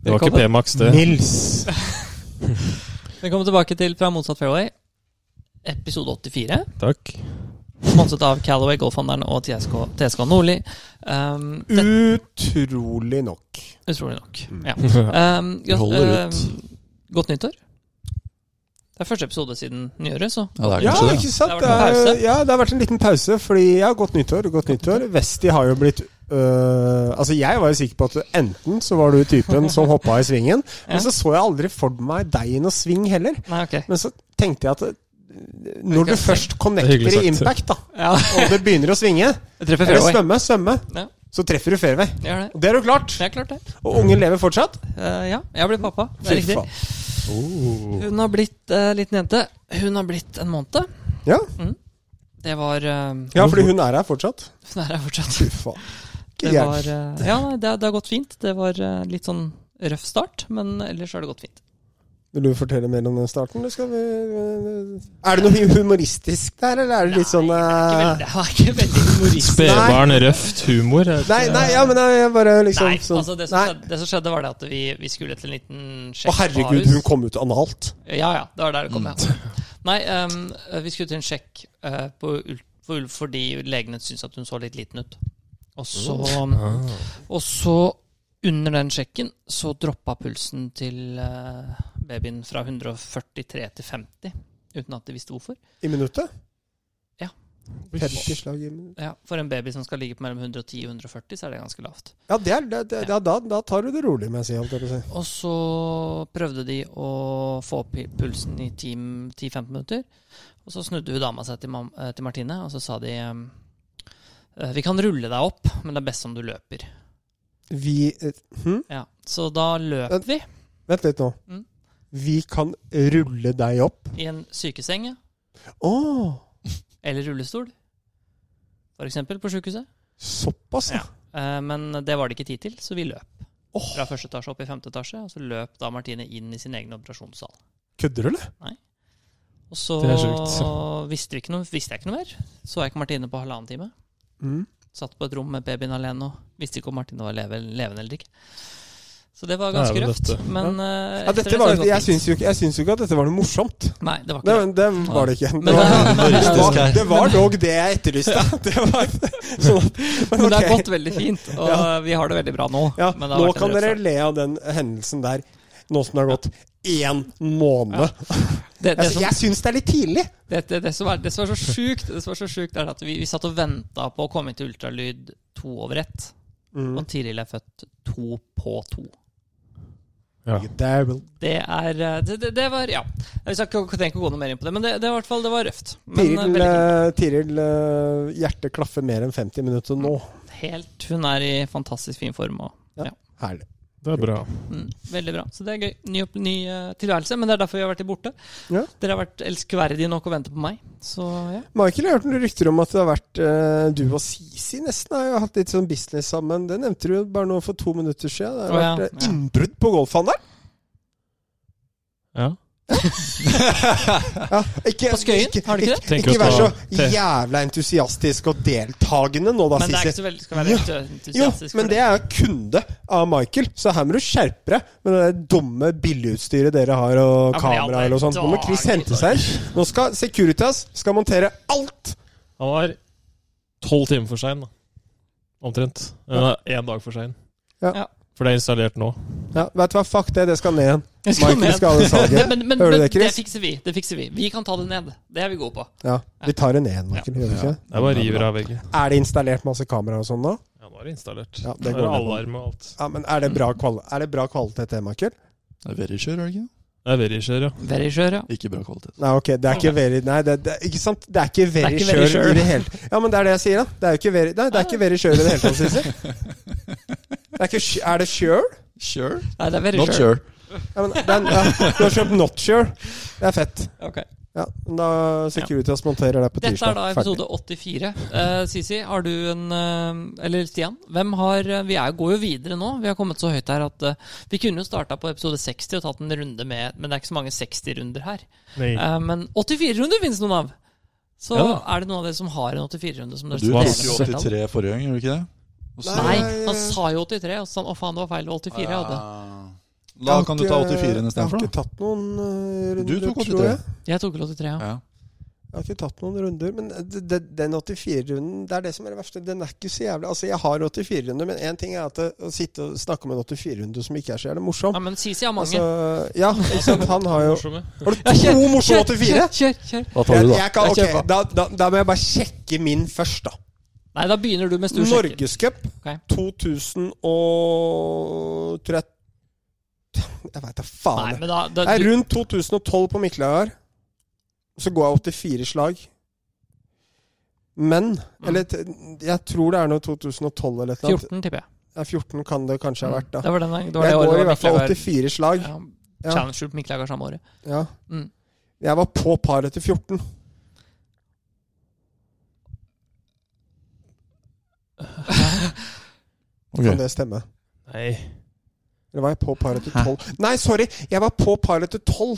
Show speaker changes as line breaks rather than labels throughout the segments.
Det var ikke
Velkommen.
P-Max, det.
Nils.
Velkommen tilbake til Fra motsatt fairway, episode 84.
Takk.
Sponset av Callaway, Golfhandelen og TSK, TSK Nordli. Um, det,
Utrolig nok.
utrolig nok.
Mm.
Ja. Um, gra-
Holder ut.
um, godt nyttår. Det er første episode siden nyåret, så
Ja, det er
Ja,
kanskje det.
ikke sant?
Det har vært en
Det er-
pause.
ja, det har vært en liten pause, fordi ja, godt nyttår, godt nyttår. Vesti har jo blitt øh, Altså, jeg var jo sikker på at enten så var du typen som hoppa i svingen, men
Ja.
så så jeg aldri for meg deg i noe sving heller.
Nei, ok.
Men så tenkte jeg at øh, når du først
Det er
connecter i
hyggelig sagt.
impact, da,
Ja,
og det begynner å svinge,
jeg treffer
eller
fairway.
svømme, svømme,
Ja.
så treffer du fairway.
Jeg Gjør det.
Og det har du klart.
Jeg har klart det.
Og ungen lever fortsatt.
Eh, ja, jeg har blitt pappa. Det er
Fy
riktig.
faen.
Hun har blitt uh, liten jente. Hun har blitt en måned.
Ja.
Det var um,
ja, fordi hun er her fortsatt.
Hun er her fortsatt.
Fy faen. Ikke
Det
gærent.
var, eh, ja, nei, det, det har gått fint. Det var eh, litt sånn røff start, men ellers har det gått fint.
Vil du fortelle mer om den starten? eller Skal vi, er det noe humoristisk der, eller er det litt sånn
Ikke
eh,
vel- Det var ikke veldig humoristisk.
Spedbarn, røft humor. jeg vet
Nei,
ikke.
nei, ja, men jeg bare liksom
Nei,
sånn-
altså det som,
nei.
skjedde, det som skjedde, var det at vi, vi skulle til en liten sjekk
Å herregud,
på Ahus.
hun kom Mm. ut analt.
Ja, ja. Det var der det kom, ja. Nei, ehm, vi skulle til en sjekk eh, på Ulf for Ulf fordi legene syntes at hun så litt liten ut. Og så,
Mm.
og så under den sjekken så droppa pulsen til eh, babyen fra 143 til 50. Uten at de visste hvorfor.
I minuttet?
Ja.
50 slag i minuttet.
Ja, For en baby som skal ligge på mellom 110 og 140, så er det ganske lavt.
Ja, det er, det, det, ja da, da tar du det rolig med å si. holdt jeg på å si.
Og så prøvde de å få opp pulsen i 10 10-15 minutter. Og så snudde hun dama seg til, mam eh, til Martine, og så sa de ehm, eh, Vi kan rulle deg opp, men det er best om du løper.
Vi eh, hm?
Ja, Så da løp
Men-
vi
Vent litt nå.
Mm.
Vi kan rulle deg opp.
i en sykeseng ja,
Å,
eller rullestol. For eksempel på sjukehuset.
såpass, ja.
Eh, Men det var det ikke tid til, så vi løp.
Åh.
Fra første etasje opp i femte etasje, og så løp da Martine inn i sin egen operasjonssal.
Kødder du, eller?
Og så
Det er sjukt.
visste, vi ikke noe, visste jeg ikke noe mer. Så jeg ikke Martine på halvannen time.
Mm.
Satt på et rom med babyen alene og visste ikke om Martine var leve, levende eller ikke. Så det var
Det er
ganske
vel
røft.
dette.
Men eh, etter
Ja, dette
det så
var,
har det gått
jeg
fint.
syns jo, ikke- jeg syns jo ikke at dette var noe morsomt.
Nei, det var ikke
Nei, men det var det ikke. Det
Men- eh, men-
var, det
humoristisk
var,
her.
det var dog det jeg etterlyste. Det var, sånn,
det. Men det har
ok.
gått veldig fint, og vi har det veldig bra nå.
ja,
men det har
nå
vært en
kan
røff
dere
start.
le av den hendelsen der, nå som det har gått én måned.
det, sånn- det,
Altså,
som,
jeg syns det er litt tidlig.
det, det, det, som er, det som er så sjukt, det som er så sjukt er at vi, vi satt og venta på å komme inn til ultralyd to over ett, og Tiril er født to på to.
Ja.
Det er vel-
Det er eh, Det, det, det var Ja. Vi skal ikke trenger ikke å gå noe mer inn på det, men det, det, var i hvert fall, det var røft. Men, eh,
Tiril,
veldig kult.
eh, Tiril eh, hjertet klaffer mer enn 50 minutter nå.
Helt, hun er i fantastisk fin form. Og, ja.
Ja. Herlig.
Det er bra.
Mm, veldig bra. Så det er gøy. Ny, opp- ny eh, tilværelse, men det er derfor vi har vært litt borte.
Ja.
Dere har vært elskverdige nok og venter på meg. Så ja.
Michael, jeg har hørt noen rykter om at det har vært eh, du og Sisi nesten har jo hatt litt sånn business sammen. Det nevnte du jo bare nå for to minutter siden. Det har
Å, ja.
vært eh,
Ja.
innbrudd på golfhandelen.
Ja.
Ja, ikke,
På Skøyen, har du ikke det?
Ikke
Tenker å
vær
ta-
så
te-
jævla entusiastisk og deltagende nå, da,
Men det er ikke
Sissy.
så veldig skal være ja.
Ah, Jo,
entusiastisk.
men det er jo kunde av Michael, så her må du skjerpe deg med det der dumme billigutstyret dere har, og
Ja, men i alle
kameraer og sånn. Nå må Chris
dager.
hente seg inn. Nå skal Securitas skal montere alt!
Han var tolv timer for sein, da. Omtrent. Han er Én dag for sein.
Ja.
Ja.
For det er installert nå.
Ja, vet du hva, fuck det, det skal ned igjen.
Det skal
Michael
ned.
skal ha det
Men,
salget.
men, men,
Hører du
men
det,
det
Chris?
fikser vi. Det fikser vi. Vi kan ta det ned. Det er vi gode på.
Ja, vi tar det ned igjen, Michael. Gjør vi ikke? det?
Det er bare river av veggen.
Er det installert masse kameraer og sånn nå?
Ja, nå er det installert.
Ja, det
det
går
går
ned.
alarm og alt.
Ja, men er det bra, kvali er det bra kvalitet, det, Michael?
Det er Verisure, er det ikke?
Det er Verisher, ja.
Very sure, ja.
Ikke bra kvalitet.
Nei, ok, det er
Sånn,
ikke very Nei, det, det, ikke sant? Det er ikke very
ikke
sure
very sure.
i det hele Ja, men det er det jeg sier, da. Det er jo ikke very Nei, det er ikke very sure i det hele tatt, Sissy. Det er, ikke, sj- er det sure?
Sure?
Nei, det er very
Not
sure.
sure.
Ja, men, det er, ja, du har kjøpt not sure. Det er fett.
Ok.
Ja, men da Securitas monterer det på
Dette er
tirsdag.
da episode 84. Eh, Sisi, har du en eh, Eller Stian, hvem har eh, Vi er, går jo videre nå. Vi har kommet så høyt her at eh, vi kunne jo starta på episode 60 og tatt en runde med Men det er ikke så mange 60-runder her.
Mm.
Nei.
Eh, men 84-runder finnes noen av! Så
Ja da.
er det noen av dere som har en 84-runde som dere
Du
skal
var
tok
dele med
jo
flertallet?
83 forrige gang, gjorde du ikke det? Og så-
Nei,
Nei,
han
eh,
sa jo 83, og så sa han å faen, det var feil. 84 jeg hadde.
Ah. Da kan du ta 84 istedenfor,
Jeg har
da.
ikke tatt noen eh,
Du
runder,
tok
tror
83.
jeg.
Jeg tok vel 83, ja.
Ja.
Jeg har ikke tatt noen runder, men det- det- den 84-runden Det er det som er det verste. Den er ikke så jævlig Altså, jeg har 84-runder, men én ting er at det, å sitte og snakke om en 84-runde som ikke er så jævlig morsom.
Nei, men Sisi har mange.
Altså, ja, ikke sant? Han har jo
Morsomme.
Har du
Ja, kjør,
to morsomme
kjør,
84?
Kjør, kjør, kjør.
Hva tar
Jeg,
du, da?
jeg kan,
Jeg
ok,
kjøper.
da, da, da må jeg bare sjekke min først, da.
Nei, da begynner du mens du sjekker.
Norgescup
Ok.
2013 Jeg veit da
Nei,
faen. jeg.
men da, da
Nei,
du,
rundt 2012 på Miklahar så går jeg 84 slag. Men
Mm.
Eller t- jeg tror det er noe 2012 eller noe.
14, tipper jeg.
Ja, 14 kan det kanskje ha vært, da.
Det var den, det var
Jeg
det året
går
det
i
var
hvert fall
Miklagard-
84 slag.
Ja,
Ja.
Challenge Group Miklagard samme året.
Ja.
Mm.
Jeg var på par etter 14. Kan
Ok.
det stemme?
Nei.
Eller var jeg på par etter
Hæ?
12? Nei, sorry! Jeg var på par etter 12 og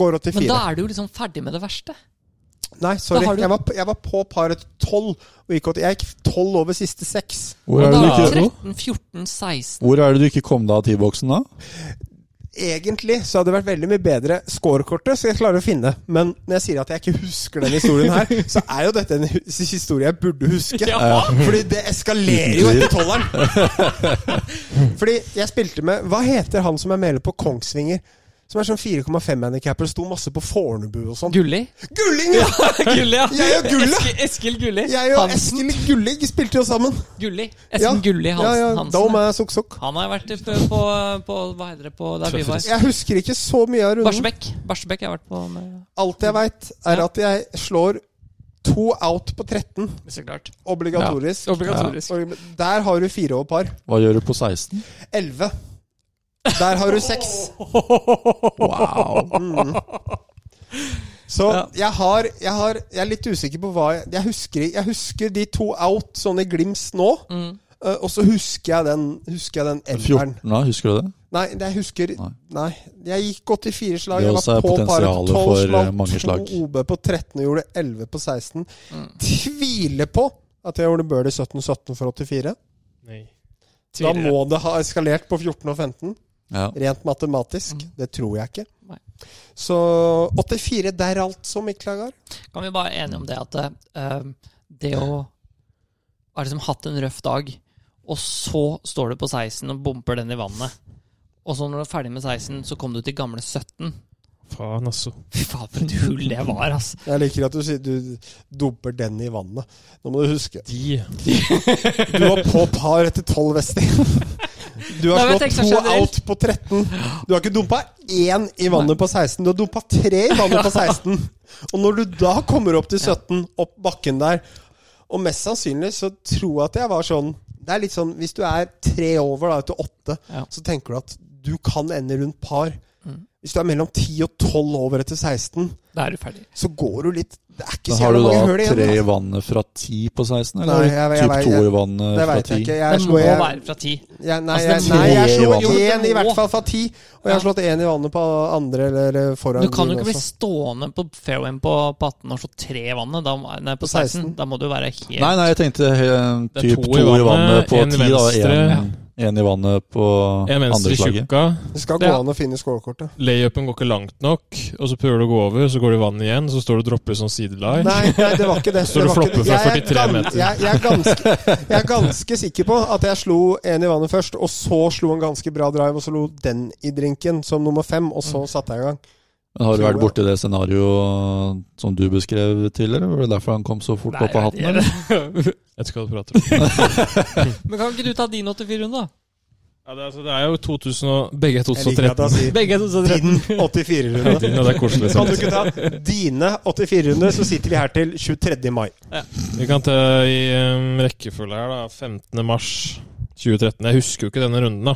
går
Men
84.
da er du jo liksom ferdig med det verste.
Nei, sorry.
Da har du-
Jeg, var, jeg var på par etter 12 og gikk åt Jeg gikk 12 over siste seks.
Hvor
Og
er
da
det du
er
ikke
du 13, 14, 16
Hvor er det du ikke kom deg av T-boksen, da?
Egentlig så hadde det vært veldig mye bedre scorekortet, så jeg klarer å finne. Men når jeg sier at jeg ikke husker denne historien her, så er jo dette en hu- historie jeg burde huske. Fordi det eskalerer jo etter tolveren. Fordi jeg spilte med Hva heter han som er medlem på Kongsvinger? Som er sånn 4,5-handikapper og sto masse på Fornebu og sånn.
Gulli.
Gulling! ja!
Gulli, ja.
Jeg og Gulli.
Eski- Eskil Gulli.
Jeg og
Hansen.
Eskil Gulling spilte jo sammen.
Gulli.
Ja.
Esken Gulli
Ja,
Hansen.
ja,
Hansen.
Da må jeg sokk-sokk.
Han har vært på, på, på Hva heter det på der vi var?
Jeg husker ikke så mye av runden.
Barsebekk. Barsebekk har jeg vært på med.
Alt jeg veit,
Ja.
er at jeg slår to out på 13.
Så klart.
Obligatorisk.
Ja, obligatorisk.
Ja. Og Der har du fire over par.
Hva gjør du på 16?
Elleve. Der har du seks. Mm.
Wow.
Så jeg, har, jeg har Jeg er litt usikker på hva jeg, jeg husker. Jeg husker de to out sånn i glims nå. eh, og så husker jeg den Husker jeg den elveren.
14, da, husker du det?
Nei, det jeg husker Nei.
Nei.
Jeg gikk 84 slag.
Det
Jeg
også
var
er
på par
potensialet
etter 12
for, eh,
slag.
mange slag.
To OB på 13 og gjorde 11 på 16. Tviler på at jeg gjorde birdie 17-17 for 84.
Nei.
Da må det ha eskalert på 14 og 15.
Ja.
Rent matematisk. Det tror jeg ikke.
Nei.
Så 84 der altså, Miklagar.
Kan vi bare være enige om det at eh, det å ha liksom hatt en røff dag, og så står du på 16 og bomper den i vannet, og så når du er ferdig med 16, så kom du til gamle 17.
Faen, altså.
Fy faen, for et hull det var, altså.
Jeg liker at du sier du dumper den i vannet. Nå må du huske.
De
Du var på par etter 12, Westing. Du har
Nei, men jeg
slått
tenker
to
sånn generelt.
out på 13. Du har ikke dumpa én i vannet på 16. Du har dumpa tre i vannet på 16. Og når du da kommer opp til 17, opp bakken der Og mest sannsynlig så tror jeg at jeg var sånn Det er litt sånn Hvis du er tre over da etter åtte,
Ja. Mm.
så tenker du at du kan ende rundt par. Hvis du er mellom 10 og 12 over etter 16,
Da er du ferdig.
så går du litt Det er ikke
Men
så
har du
jævlig
da
mange hull igjen.
tre i
da.
vannet fra 10 på 16? Eller
Nei,
har du
jeg- jeg-
typ 2
jeg- jeg-
i vannet
Det
fra
veit jeg
10?
ikke. Jeg
Det må
slår- jeg-
være fra 10.
Jeg, nei,
Altså,
jeg,
det er
nei, jeg
tre i
slo
vannet.
én i
Jo, men det
hvert
må.
fall fra ti. Og jeg har
Ja.
slått én i vannet på andre eller eh, foran.
Du kan jo
din
ikke bli
også.
stående på fairwayen på, på 18 og slå tre i vannet. Da, må- nei, på 16.
16.
Da må du være helt
Nei, nei, jeg tenkte eh,
Det
typ
er to
2
i
i vannet
vannet,
på
en
10, da.
venstre.
En, en i vannet på
En venstre
andre
i
slaget.
tjukka.
Det skal gå
Ja.
an å finne scorekortet.
Layupen går ikke langt nok. Og så prøver du å gå over, så går det i vann igjen. Så står du og dropper sånn
Nei,
sideline.
nei, det var ikke det. det
Så du
var ikke det.
flopper fra
Jeg er
43
gam-
meter.
Jeg, jeg, er ganske, jeg er ganske sikker på at jeg slo én i vannet først, og så slo en ganske bra drive, og så lo den i drinken som nummer fem, og
Mm.
så satte jeg i gang.
Men har du
Tror
vært
jeg.
borti det scenarioet som du beskrev tidligere? Var det derfor han kom så fort opp av hatten? Eller?
Jeg vet ikke hva du prater om.
Men kan ikke du ta din 84-runde, da?
Ja, det, er- altså, det er jo 2000 og Begge er
Jeg liker at
2013.
han sier
Begge er 2013.
din 84-runde.
Ja, det er koselig.
Kan
sant?
du ikke ta dine 84-runde, så sitter vi her til 23. mai.
Vi kan ta i em, rekkefølge her, da. 15. mars 2013. Jeg husker jo ikke denne runden, da.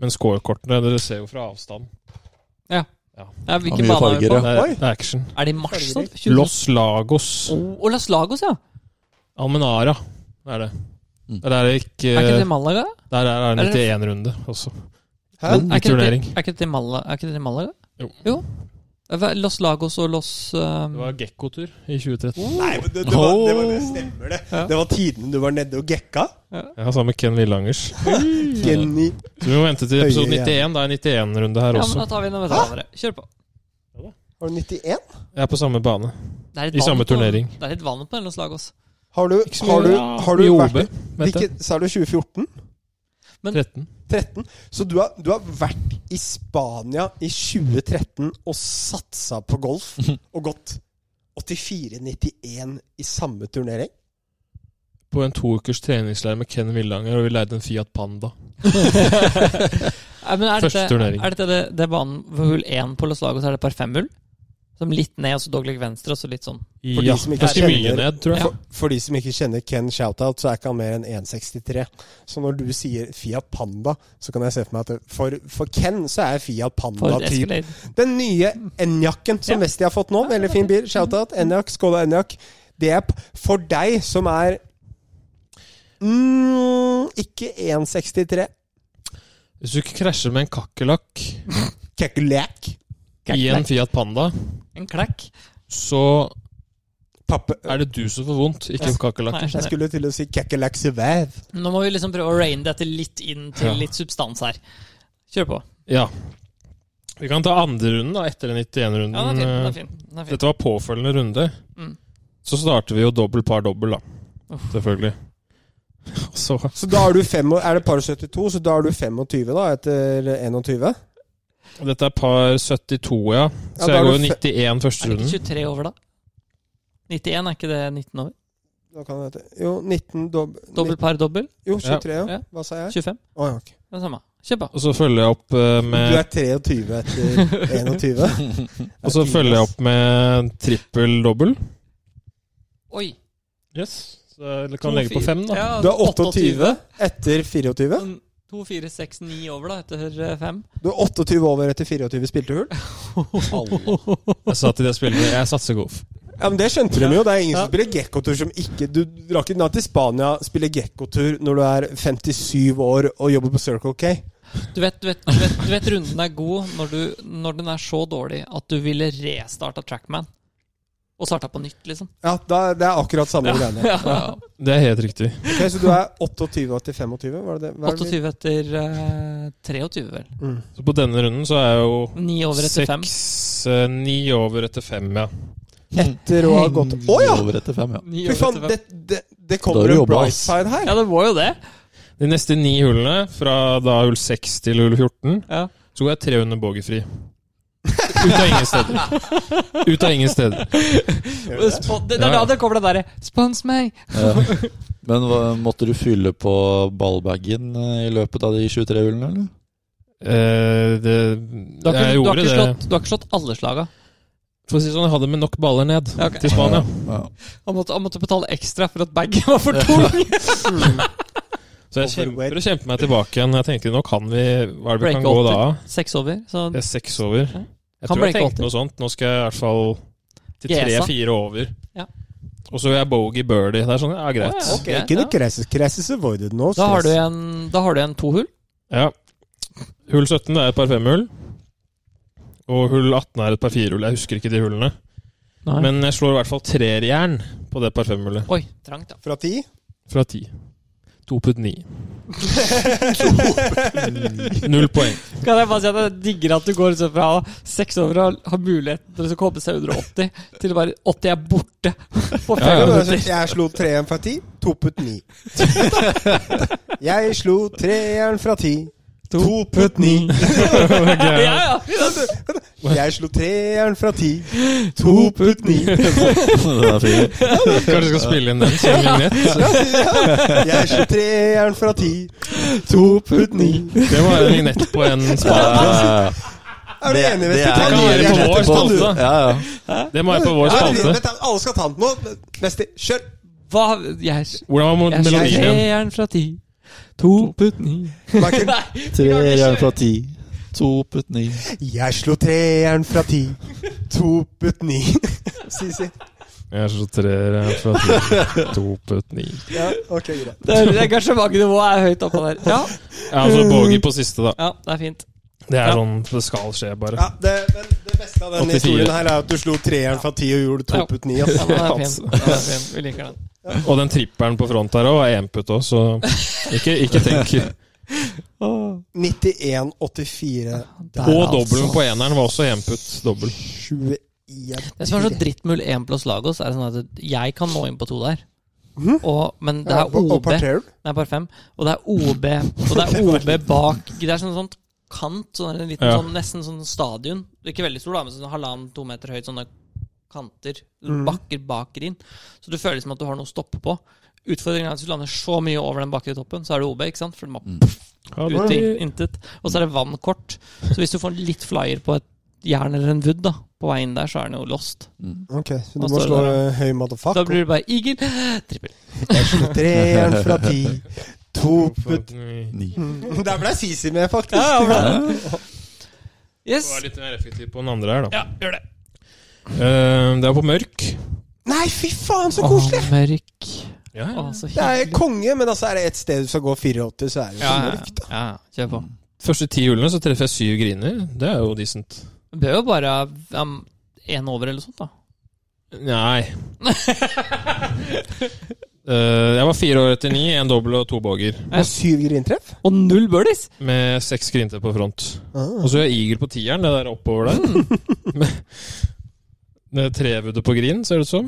Men scorekortene, dere ser jo fra avstand.
Ja,
Ja,
hvilken
mye
bane er vi
farger,
på?
ja.
Det er,
Oi.
det er action.
Er det i mars? Sånn?
Los Lagos.
Og Las Lagos, ja.
Almenara er det.
Mm.
Der er det ikke
Er ikke det i Malaga?
Der er
Er det- Mm.
det 91 runde også.
Hæ?
Men-
Er ikke det,
Turnering.
er ikke det, i Mala- er ikke det i Malaga?
Jo.
jo. Hva- Los Lagos og Los eh,
Det var gekkotur i 2013.
Nei, men det, det, var, det, var, det stemmer, det. Det var tidene du var nede og gekka.
Ja, sammen med Ken Villangers. Mm.
Geni.
Så vi må vente til episode
Høye
91. Det er en 91-runde her
Ja, men
også.
da tar vi en av hverandre. Kjør på.
Har du 91?
Jeg er på samme bane.
Det er litt
I samme
vann på-
turnering.
Det er litt vann på den Los Lagos.
Har du,
så
har du,
mye,
har du
I OB,
vært
vet jeg.
hvilket, Sa du 2014?
13.
13? Så du har, du har vært i Spania i 2013 og satsa på golf og gått 84-91 i samme turnering?
På en to ukers treningsleir med Ken Villanger, og vi leide en Fiat Panda.
Nei, men er
Første
dette,
turnering.
Er dette det, det er banen for hull 1 på Los Lagos, er det par fem-hull? Som litt ned, og så dogleg venstre, og så litt sånn.
For de
Ja,
som ikke
ganske mye
kjenner-
ned, tror jeg.
For, for de som ikke kjenner Ken Shoutout, så er ikke han mer enn 1,63. Så når du sier Fiat Panda, så kan jeg se for meg at det, for, for Ken så er Fiat
For
Panda typ
Escalade.
Den nye Enjakken som
Ja.
Vesti har fått nå. Veldig fin bil. Shoutout. Enjak. Skål, Enjak. Det er p- for deg som er mm, Ikke 1,63.
Hvis du ikke krasjer med en kakerlakk
Kakulek.
i en
Kakerlakk.
Fiat Panda,
En klekk.
så
Pappe.
er det du som får vondt, ikke
Ja. Nei,
kakerlakken.
jeg
Jeg
skjønner.
skulle til å si kakulek sevev.
Nå må vi liksom prøve å raine dette litt inn til
Ja.
litt substans her. Kjør på.
Ja. Vi kan ta andre runden da, etter den
Ja, den er fin. Den
91-runden.
er fin. Den er fin.
Dette var påfølgende runde.
Mm.
Så starter vi jo dobbel par dobbel, da.
Uff.
Selvfølgelig. Og så
Så da er du fem, og- er det par 72, så da er du 25 da, etter 21?
Dette er par 72,
Ja,
ja.
da er
Så jeg
du
går jo
fe-
91 første
Er det
runden.
ikke 23 over, da? 91, er ikke det 19 over?
Da kan det hete Jo, 19 dob
Dobbel par dobbel?
Jo, 23, ja.
Ja.
Hva sa jeg?
25?
Å, ja, ok.
Det er det samme. Kjør på.
Og så følger jeg opp eh,
Du
med
er 23 etter 21?
Og så følger jeg opp med trippel dobbel.
Oi.
Yes. Så jeg kan legge på fem, da.
Ja, altså,
Du er 28 etter 24?
2, 4, 6, 9 over, da, etter eh, 5.
Du er 28 over etter 24 spilte hull?
Jeg sa til de spillerne jeg satser golf.
Ja, men Det skjønte de jo. Det er ingen som
Ja.
spiller gekkotur som ikke Du drar ikke ned til Spania spiller gekkotur når du er 57 år og jobber på Circle K.
Du vet, du, vet, du, vet, du vet runden er god når, du, når den er så dårlig at du ville restarta Trackman. Og starta på nytt, liksom.
Ja, da, Det er akkurat samme greiene.
Det er helt riktig.
Ok, så du er 28 etter 25? Var det det? Hva er det vi-
28 etter eh, 23, vel.
Mm.
Så på denne runden så er jeg jo
9 over etter 5.
seks eh, Ni over etter fem, ja.
Mm.
Etter å ha gått Å ja!
Mm, Over etter fem, ja.
Fy faen, det, det, det kommer
Da er du
en
jobba,
bright
ass.
side her.
Ja, det var jo det.
De neste ni hullene, fra da hull 6 til hull 14,
Ja.
så går jeg tre under bogeyfri. Ut av ingen steder. Ut av ingen steder.
Og det spo- Det det er da det kommer det derre 'Spons meg'.
Eh, Men hva, måtte du fylle på ballbagen eh, i løpet av de 23 hullene, eller?
Eh, det,
Du har ikke,
jeg
du har ikke,
gjorde det.
slått, du har ikke slått alle slaga.
For å si det sånn, jeg hadde med nok baller ned
Ja, ok.
til Spania.
Ja.
Han måtte, han måtte betale ekstra for at bagen var for tung.
Mm.
Så jeg kjemper og kjemper meg tilbake igjen. Jeg tenkte nå kan vi Hva er det vi kan
Break
gå
åtte.
da?
Seks over. Så
Det er seks over.
Ja.
Jeg
Kan
tror jeg
breake åtte.
tenkte noe sånt. Nå skal jeg i hvert fall til
Gesa.
tre-fire over.
Ja.
Og så vil jeg bogey-birdie. Det er sånn, ja, greit.
Å, ja.
Ok, Ikke noe crisis, crisis avoided nå.
da har du en, da har du en to hull.
Ja. Hull 17 det er et par femhull. Og hull 18 er et par firehull. Jeg husker ikke de hullene.
Men,
Men jeg slår i hvert fall trerjern på det par femhullet.
Oi, trangt, ja.
Fra ti?
Fra ti. To putt ni. Null poeng.
Kan jeg bare si at jeg digger at du går liksom fra seks over og har muligheten til å komme seg under 80, til bare 80 er borte på
Ja,
fem
ja.
minutter.
Jeg slo treeren fra ti, to putt ni. Jeg slo treeren fra ti, to putt ni.
Ja, ja.
Jeg slo treeren fra ti. To putt ni.
Den er fin.
Kanskje jeg skal spille inn den som vignett?
Jeg slo treeren fra ti. To putt ni.
Det må være en vignett på en
Ja,
spalte.
ja,
Er du enig, Vesti?
er
Ta
nye
den.
på
Jeg- Ta
vår
den, du.
spalte.
ja. ja.
Det må være på vår
Ja,
spalte.
vent da, Alle skal ta den nå. Vesti, kjør.
Hva Jeg,
Hvordan var
jeg
melodien igjen?
treeren fra ti. To putt ni.
Michael.
Tre jern fra ti. To putt ni.
Jeg slo treeren fra ti. To putt ni. Sisi.
Jeg slår treeren fra ti. To putt ni.
Ja, ok, greit.
Det er- Engasjementnivået er høyt oppå der. Ja,
Ja, altså bogey på siste, da.
ja, det er fint.
Det er
Ja.
sånn det skal skje, bare.
Ja, det, men det beste av den
84.
historien her er at du slo treeren fra ti og gjorde to
Ja.
putt ni. ass.
Ja, den er
altså.
fin. Den er fin. Vi liker den.
Og den tripperen på front her òg er én-putt òg, så ikke, ikke tenk.
91-84.
Der,
Og
altså.
dobbelen på eneren var også én-putt. Dobbel.
21.
Det som er så drittmull 1 pluss Lagos, er sånn at jeg kan nå inn på to der.
Mhm.
Og, men det
Ja,
er
og- og
OB
parterer du?
Nei, bare fem. Og det er OB Og det er OB bak Det er sånn sånn kant, sånn en liten
Ja.
sånn, nesten sånn stadion. Det er ikke veldig stor, da, men sånn halvannen, to meter høyt, sånne kanter.
Mhm.
Bakker bak green. Så du føler som at du har noe å stoppe på. Utfordringen er at hvis du lander så mye over den bakre toppen, så er det OB, ikke sant? For den må ut i intet. Og så er det vannkort. Så hvis du får en litt flyer på et jern eller en wood da, på vei inn der, så er den jo lost.
Mm.
Ok, så du
Hva
må
står det
slå
der,
eh, høy
Da
motherfucker.
blir det bare eagle. Trippel.
Treeren fra ti. To putt
Du
Ni.
Mm, Der ble Sisi med, faktisk.
Ja, ja, bra. Yes.
er litt mer effektiv på den andre her, da.
Ja, gjør det.
Eh, det er på mørk.
Nei, fy faen, så koselig!
Å, mørk.
Ja,
Å,
ja.
så
Det er
hyggelig.
konge, men altså er det et sted du skal gå 84, så er det jo sånn,
Ja,
så
ja,
mørkt.
ja. ja, kjør på.
Første ti hullene så treffer jeg syv griner. Det er jo decent.
Det bør jo bare um, en over eller sånt, da.
Nei. Eh, jeg var fire år etter ni, en dobbel og to boger.
Ja.
Og syv grintreff?
Og null birdies!
Med seks grinter på front.
Ah. Mm.
Og så er Eagle på tieren, det der oppover der. Med- det er trevuddet på green, ser det ut som.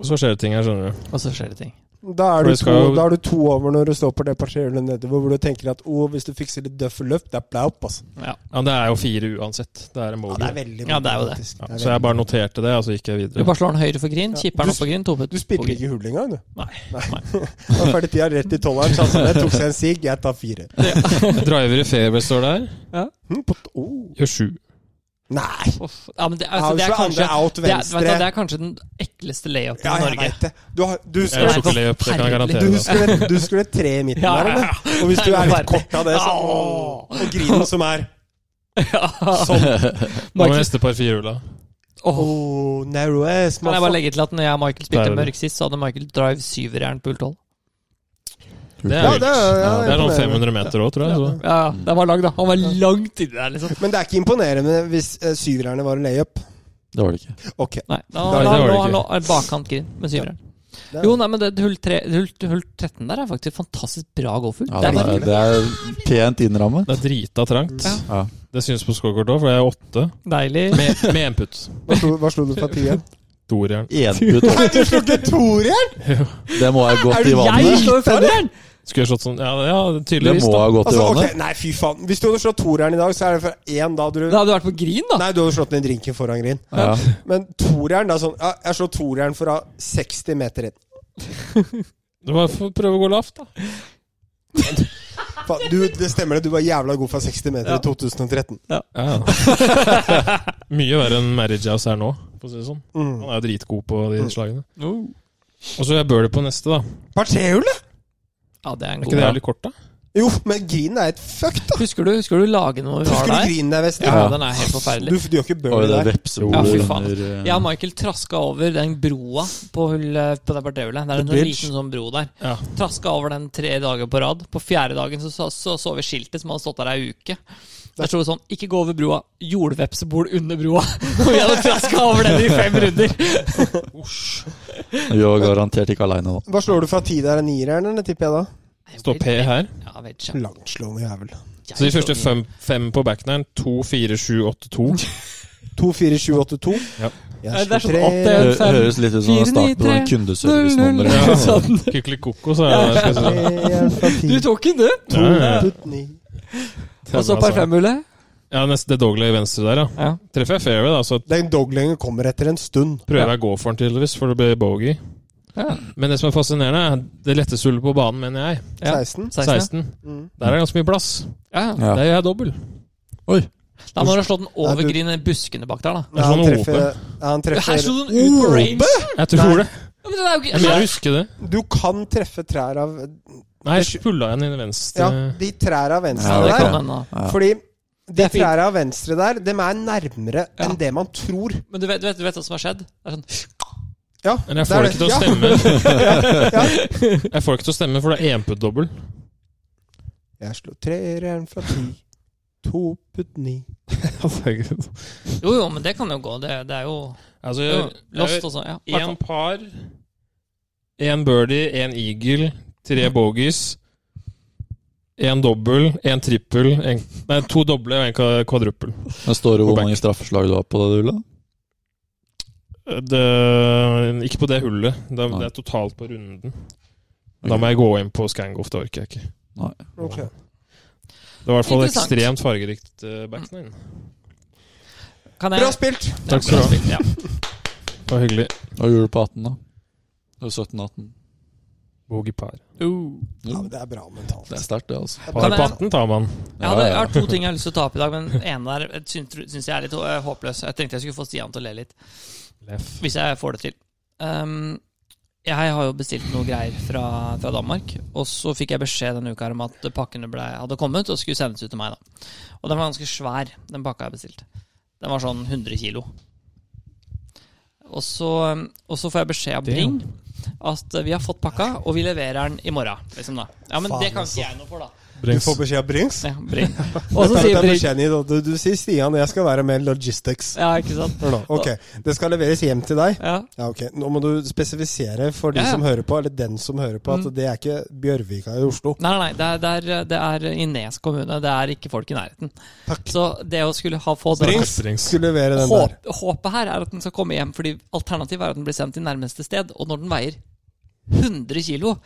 Og så skjer det ting her, skjønner du.
Og så skjer det ting.
Da er,
For
du
det
to,
skal jo-
da er du to over når du står på det parterhjulet nedover, hvor du tenker at å, hvis du fikser litt døffel løft, det er blau opp, altså.
Ja.
Ja, det er jo fire uansett. Det er en
Ja,
bogey.
det er veldig
Ja, det er jo det.
faktisk.
Ja,
Det er
så jeg
veldig-
bare noterte det, og så gikk jeg
Du
videre.
bare slår den høyre for green,
Ja.
kipper den
Du
opp på green, to putt
Du
på
spilte
green.
ikke hull engang, du.
Nei.
Det var ferdig tida rett i tolveren, så altså, det tok seg en sigg. Jeg tar fire.
Driver i fairway står der.
Hm, på t- oh.
Gjør sju.
Nei!
Uff. Ja, men det, altså,
Altså,
det, er kanskje,
andre out
det, er, vet du, hva, det
venstre.
er kanskje den ekleste layupen
Ja,
i
jeg
Norge.
veit det. Du, har, du,
Jeg er
Nei,
skulle,
sjokolade, det kan jeg
forferdelig.
garantere.
du,
deg.
skulle, du skulle tre i midten
Ja,
der,
ja,
eller? Og hvis
Det
du
er
er
jo
litt
verre.
kort av det, så
Au.
Og grinen som er
Ja.
sånn.
Hva med
Michael,
neste par firehjula?
Åh.
Oh, narrow ass,
Kan jeg bare
motherfucker.
legge til at når jeg og Michael spilte
Der.
mørk sist, så hadde Michael drive syverjern på hull 12.
Det
ja,
er,
det er, ja,
det er sånn
imponerende.
500 meter òg, tror jeg. Så.
Ja, ja, den var lang, da. Han var langt inni der, liksom.
Men det er ikke imponerende hvis eh, syverne var en layup.
Det var det ikke.
Ok.
Nei, da,
Nei, det
da,
var det
nå,
ikke.
han lå bakkant green med syveren.
Det er-
Jo, nei, men det, hull, tre, hull, hull 13 der er faktisk fantastisk bra golfhull.
Ja,
det er
det,
bare,
er, det er pent innrammet.
Det er drita trangt.
Ja.
Ja.
Det syns på scorekort òg, for det er åtte.
deilig.
Med, med en putt.
Hva slo, hva slo du fra ti igjen?
Toeren.
Enputt opp.
Nei, du slo ikke toer igjen!
Det må ha gått i
Jeg
vannet.
slår femmeren!
Skulle jeg slått sånn Ja, ja
Det
tydeligvis.
må
Da.
ha gått i
Altså,
vannet.
ok, Nei, fy faen. Hvis du hadde slått toeren i dag, så er det for én da hadde du
Da hadde du vært på green, da.
Nei, du hadde slått ned drinken foran grin.
Ja.
Men toeren, da sånn ja, Jeg slår toeren fra 60 meter inn.
Du må få prøve å gå lavt, da.
Faen, du, det stemmer det, du var jævla god fra 60 meter
Ja.
i 2013.
Ja. Mye verre enn Marriage House er nå, for å si det sånn.
Mm.
Han er jo dritgod på de
Mm.
slagene. Og så er Burley på neste, da.
Partihjulet?
Ja, det er en
Er
god
ikke det
ja.
jævlig kort, da?
Jo, men grinen er et fuck, da.
Husker du, husker du lagen hvor vi var
Husker du
der?
grinen der, Vest?
Ja, den er helt
Du,
forferdelig.
du gjør ikke
Og
burley
det
der.
Ja,
vepsebolet
fy
faen.
under eh,
Jeg og Michael traska over den broa på, hull, eh, på det partihjulet. Det er en
The
sånn
bridge.
liten sånn bro der.
Ja.
Traska over den tre dager på rad. På fjerde dagen så så, så, så vi skiltet som hadde stått der ei uke. Der sto det sånn 'Ikke gå over broa. Jordvepsebol under broa'. Og vi hadde traska over den i fem runder.
Vi var garantert ikke aleine nå.
Hva slår du fra ti der? Nieren, eller tipper jeg da?
Står P her.
Ja, jeg vet ikke.
Langslående jævel.
Jeg
Så de første
tror-
fem, fem på backneren. To, fire, sju, åtte, to.
24782.
Ja.
Nei,
Jeg
det er
slår
sånn
tre.
åtte, ja.
Hø-
fem,
Høres litt ut som
fire,
en start på
ni,
sånn
tre,
kundeservicenummer.
null, null.
Ja.
Sånn.
Kykelikoko, så er det. Skal jeg si.
Treeren fra ti.
Du tok den, du!
To
Ja, ja.
putt ni.
Og så
altså.
par femhullet.
Ja, neste det Dogley venstre der, ja.
Ja.
Treffer jeg fairway, da, så
Den doglengen kommer etter en stund.
prøver jeg å gå for den, tydeligvis, for det blir bogey.
Ja.
Men det som er fascinerende, er det letteste hullet på banen, mener jeg.
Ja.
16.
16.
16.
Mm.
Der er det ganske mye plass.
Ja. ja.
Ja.
Der gjør jeg dobbel.
Da må du ha slått den
Nei,
over
du-
grinen i buskene bak der, da.
Det er
han
sånn
treffer, ja,
Her
han treffer
slo den ut på
Åh,
range!
Jeg tror
Nei.
det.
Ja, men den er jo
Jeg mener
ikke
jeg husker det.
Du kan treffe trær av
Nei, jeg pulla igjen i det venstre.
Ja, de trær av venstre
Ja,
Ja, det
Sånn der.
kan hende. da.
Ja.
Fordi de
er fint.
trærne av venstre der, dem er nærmere
Ja.
enn det man tror.
Men du vet, du vet, du vet hva som har skjedd? Det er sånn,
Ja,
Men jeg
er
får det ikke til å
Ja.
stemme,
Ja.
Jeg E får det ikke til å stemme for det er enputt dobbel.
Jeg slo treeren fra ti. to putt ni.
altså,
Jo, jo, men det kan jo gå. Det, det er jo, det er jo lost og sånn. Ja, i hvert
Én
fall.
par, én birdie, én eagle, tre bogies. Én dobbel, én trippel, en, nei, to doble og én kvadruppel.
Men står det
På
hvor
back.
mange straffeslag du har på det, Ulla?
Det, ikke på det hullet. Det, er-
Nei.
det er totalt på runden. Da må jeg gå inn på Scangoff, det orker jeg ikke.
Ok.
Det var i hvert fall
Interessant.
ekstremt fargerikt eh, back nine.
Kan jeg-
Bra spilt!
Ja,
Takk skal
bra
du ha.
spilt, Ja.
Det var hyggelig.
Hva gjorde du på 18, da? Det var 17-18.
Bogey par.
Uh.
Ja, men det er bra mentalt.
Det er sterkt, det, altså.
Par
Kan
på
jeg-
18 tar man.
Jeg, hadde, jeg
Ja, ja.
har to ting jeg har lyst til å ta opp i dag, men ene der syns jeg er litt eh, håpløs. Jeg tenkte jeg skulle få Stian til å le litt,
Leff.
hvis jeg får det til. Ehm, jeg har jo bestilt noe greier fra, fra Danmark, og så fikk jeg beskjed denne uka her om at pakkene ble, hadde kommet og skulle sendes ut til meg. da. Og den var ganske svær, den pakka jeg bestilte. Den var sånn 100 kilo. Og så, um, og så får jeg beskjed av
Det-
Bring at eh, vi har fått pakka, og vi leverer den i morgen. Liksom da. Ja, men
Faen,
det kan
altså.
ikke jeg noe for, da.
Du får beskjed av Brings.
Ja, Bring.
Og
Og så sier Bring
du, du sier Stian, jeg skal være med logistics.
Ja, ikke sant?
Hør nå. Ok, det skal leveres hjem til deg.
Ja.
Ja, ok. Nå må du spesifisere for de
Ja, ja.
som hører på, eller den som hører på, at
Mm.
det er ikke Bjørvika i Oslo.
Nei, nei, nei, det er, det er, det er i Nes kommune. Det er ikke folk i nærheten.
Takk.
Så det å skulle ha få den
Brings skulle levere den der.
håp, Håpet her er at den skal komme hjem, fordi alternativet er at den blir sendt til nærmeste sted. Og når den veier 100 kilo,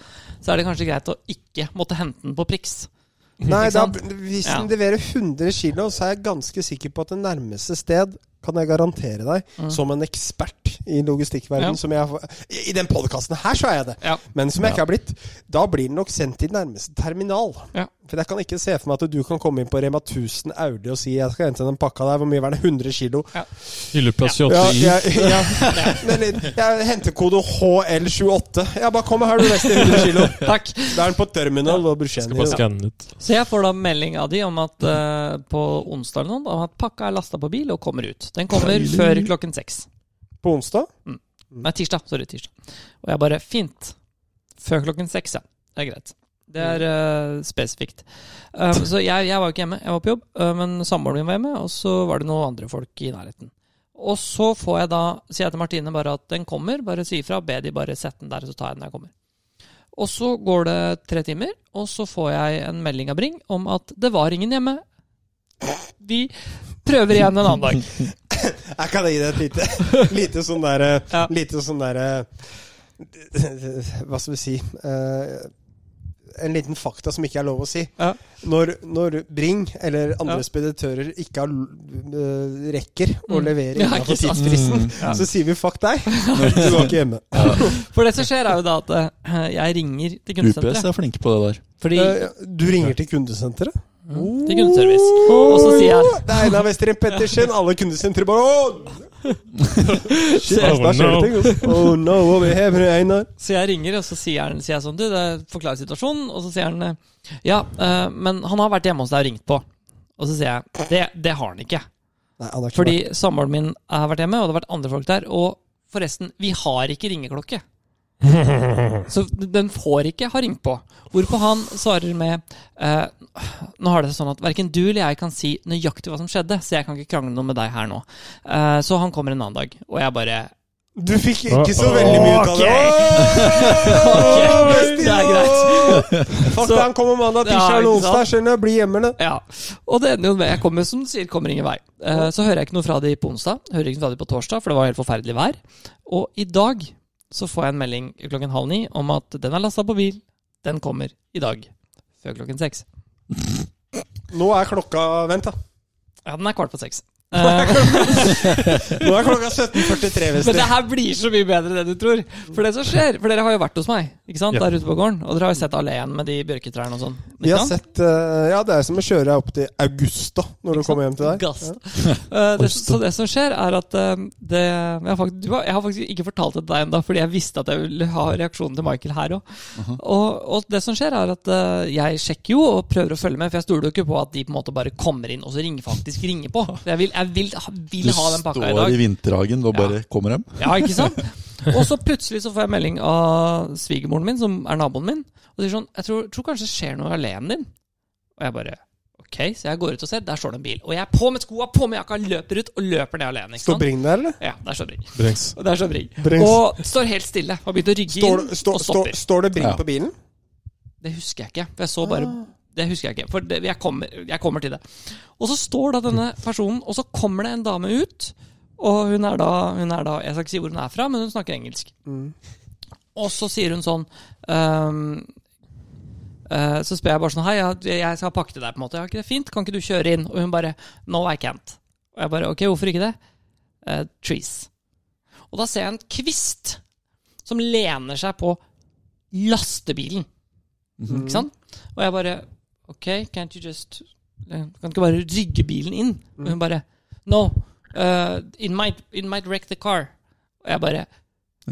så er det kanskje greit å ikke måtte hente den på Prix.
Nei,
Ikke
da,
sant?
hvis
Ja.
den leverer 100 kilo, så er jeg ganske sikker på at det nærmeste sted kan jeg garantere deg, som en ekspert i logistikkverden,
Mm. Ja.
som jeg har- I den podkasten her, så er jeg det!
Ja.
Men som jeg ikke har blitt. Da blir den nok sendt til nærmeste terminal.
Ja.
For jeg kan ikke se for meg at du kan komme inn på Rema 1000 Audi og si 'jeg skal hente den pakka der', hvor mye var det? 100 kilo?
Hylleplass
Ja,
28 i.
ja, ja. Men jeg henter kode HL28. Ja, bare kom her, du neste 100 kilo.
Takk.
Da er den på terminal og
Skal bare
Bruscheni.
skanne den ut.
Så jeg får da melding av de om at eh, på onsdag eller noe, om at pakka er lasta på bil og kommer ut. Den kommer før klokken seks.
På onsdag?
Nei, tirsdag. Sorry, tirsdag. Og jeg bare Fint. Før klokken seks, ja. Det er greit. Det er eh, spesifikt. Um, så jeg, jeg var jo ikke hjemme, jeg var på jobb. eh, men samboeren min var hjemme, og så var det noen andre folk i nærheten. Og så får jeg da, sier jeg til Martine bare at den kommer, bare si ifra. Be de bare sette den der, så tar jeg den når jeg kommer. Og så går det tre timer, og så får jeg en melding av Bring om at det var ingen hjemme. Vi prøver igjen en annen dag.
Jeg kan gi deg et lite, lite sånn derre
Ja.
Lite sånn derre Hva skal vi si eh, En liten fakta som ikke er lov å si.
Ja.
Når, når Bring eller andre
Ja.
speditører ikke har, eh, rekker å
Mm.
levere
Ja,
innenfor
ikke sant?
tidsfristen,
Mm.
så sier vi 'fuck deg'. Du var ikke hjemme.
For det som skjer, er jo da at eh, jeg ringer til kundesenteret.
UPS er flinke på det der.
Fordi
Eh, Du ringer til kundesenteret?
til kundeservice. Og så sier jeg
Det er Einar Westrin Pettersen. Alle kundesentre bare Åh! Shit,
Oh,
ass, da skjer det ting. ass. Oh no, what we have here, Einar?
Så jeg ringer, og så sier, han, sier jeg sånn Du, det forklarer situasjonen. Og så sier han eh, Ja, eh, men han har vært hjemme hos deg og ringt på. Og så sier jeg Det, det har han ikke.
Nei, han har ikke
Fordi samboeren min har vært hjemme, og det har vært andre folk der. Og forresten, vi har ikke ringeklokke. Så den får ikke ha ringt på. Hvorpå han svarer med eh, Nå har det seg sånn at verken du eller jeg kan si nøyaktig hva som skjedde, så jeg kan ikke krangle noe med deg her nå. Eh, så han kommer en annen dag. Og jeg bare
Du fikk ikke så veldig mye ut av det. Åh,
Ok,
Stian!
det er greit.
Fuck
Så-
det, han kommer mandag,
Ja,
tirsdag
ikke
eller onsdag. Skjønner du, bli hjemme, det.
Ja, og det ender jo med Jeg kommer som du sier, kommer ingen vei. Eh, så hører jeg ikke noe fra de på onsdag, hører ikke noe fra de på torsdag, for det var helt forferdelig vær. Og i dag så får jeg en melding klokken halv ni om at den er lasta på bil. Den kommer i dag. Før klokken seks.
Nå er klokka Vent, da.
Ja, den er kvart på seks. Eh,
Nå er klokka 17.43,
men det
Westrin.
her blir så mye bedre enn det du tror. For det som skjer For dere har jo vært hos meg Ikke sant,
Ja.
der ute på gården. Og dere har jo sett alleen med de bjørketrærne og sånn.
Vi
Ikke
har
sant?
sett eh, Ja, det er som å kjøre deg opp til Augusta når du kommer hjem til deg.
Gass. Eh, det, så det som skjer, er at eh, det, jeg, har faktisk, du har, jeg har faktisk ikke fortalt det til deg ennå, fordi jeg visste at jeg ville ha reaksjonen til Michael her òg. og, og det som skjer, er at eh, jeg sjekker jo og prøver å følge med, for jeg stoler jo ikke på at de på en måte bare kommer inn og så ringer faktisk ringer på. For Jeg vil, jeg vil,
Du
vil ha den pakka i
står i
dag.
vinterhagen og bare
Ja.
kommer hjem.
Ja, ikke sant? Og så plutselig så får jeg melding av svigermoren min, som er naboen min, og sier sånn Jeg tror, tror kanskje det skjer noe i alleen din. Og jeg bare Ok, Ok, så jeg går ut og ser. Der står det en bil. Og jeg er på med skoa, på med jakka, løper ut og løper ned alene. Ikke
Står
sant?
Bring der, eller?
Ja, der står Bring.
Brengs.
Og der står Bring.
Brings.
Og står helt stille. Har begynt å rygge
Står,
inn
det- står,
og
står,
stopper.
står det Bring
Ja.
på bilen?
Det husker jeg ikke. For jeg så bare Det husker jeg ikke. For det, jeg, kommer, jeg kommer til det. Og så står da denne personen, og så kommer det en dame ut. Og hun er da, hun er da Jeg skal ikke si hvor hun er fra, men hun snakker engelsk. Og så sier hun sånn ehm, eh, Så spør jeg bare sånn Hei, jeg, jeg skal pakke til deg, på en måte. Ja, ikke det er fint? Kan ikke du kjøre inn? Og hun bare No, I can't. Og jeg bare Ok, hvorfor ikke det? Eh, trees. Og da ser jeg en kvist som lener seg på lastebilen. Mm. Ikke sant? Og jeg bare Ok, can't you just Kan du ikke bare rygge bilen inn? Og hun bare No, uh, it, might, it might wreck the car. Og jeg bare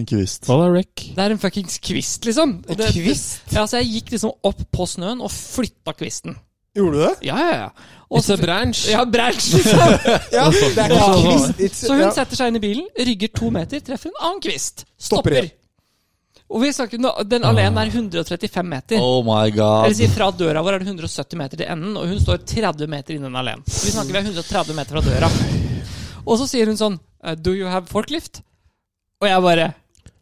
En kvist.
Hva da, Rick?
Det er en fuckings kvist, liksom.
En
Det-
kvist?
Ja, så jeg gikk liksom opp på snøen og flytta kvisten.
Gjorde du det?
Ja, ja, ja. Og
It's a
så
branch.
ja, branch, liksom.
Ja, det er ikke
Ja.
kvist. It's-
Så hun
ja.
setter seg inn i bilen, rygger to meter, treffer en annen kvist. Stopper.
Stopper igjen.
Og vi snakker, nå- den alene er 135 meter.
Oh my god.
Eller si fra døra vår er det 170 meter til enden, og hun står 30 meter innen alene. Så vi snakker vi er 130 meter fra døra. Og så sier hun sånn eh, Do you have forklift? Og jeg bare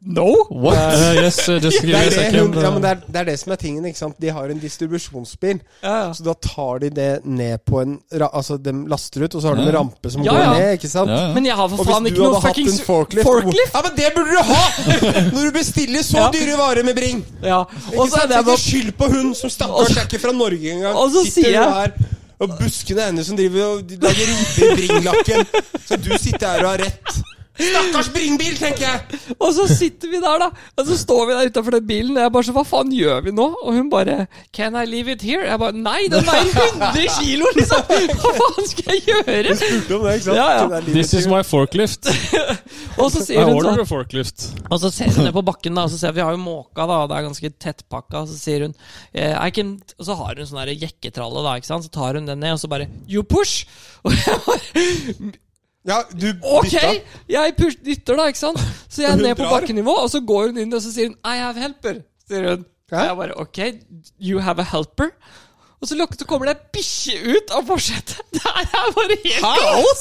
No!
What?
Uh, yes, uh, just
Det
give me a
er det, hun,
second.
ja, men det, er, det er det som er tingen. ikke sant? De har en distribusjonsbil.
Ja,
Så da tar de det ned på en ra- Altså, de laster ut, og så har de en
Ja.
rampe som
Ja,
går
ja.
ned. ikke sant?
Ja, ja.
Men jeg har for
Og
faen
hvis du
ikke noe
hadde hatt
fuckings
en forklift,
forklift!
Ja, men det burde du ha! Når du bestiller så
Ja.
dyre varer med Bring.
Ja.
Ikke
Og så er
sant?
det
Ikke
bare
skyld på hun som
Og så-
stakkars er ikke fra Norge engang.
Og så
Sitter
sier jeg-
du her og buskene er henne som driver og de lager riper i Bring-lakken. Så du sitter her og har rett. Stakkars Bring-bil, tenker jeg!
Og så sitter vi der, da. Og så står vi der utafor den bilen, og jeg bare så Hva faen gjør vi nå? Og hun bare Can I leave it here? Jeg bare Nei, den veier 100 kilo, liksom! Hva faen skal jeg gjøre?
Spurte om det, ikke sant?
Ja, ja.
Det er livet
This is
til-
my forklift.
Og så
I
sier hun
order
sånn
a forklift.
Og så ser hun ned på bakken, da, og så ser jeg- vi har jo måka, da, og det er ganske tettpakka. og Så sier hun eh, I can, Og så har hun sånn der jekketralle, da, ikke sant. Så tar hun den ned, og så bare You push! Og jeg bare
Ja, du
Ok!
bytta.
Jeg push, dytter, da, ikke sant. Så jeg er
Hun
ned på
drar.
bakkenivå, og så går hun inn, og så sier hun I have helper. Sier hun. Og
Hæ?
jeg bare Ok, you have a helper? Og så lukket, så kommer det ei bikkje ut av forsetet! Det her er bare helt kaos!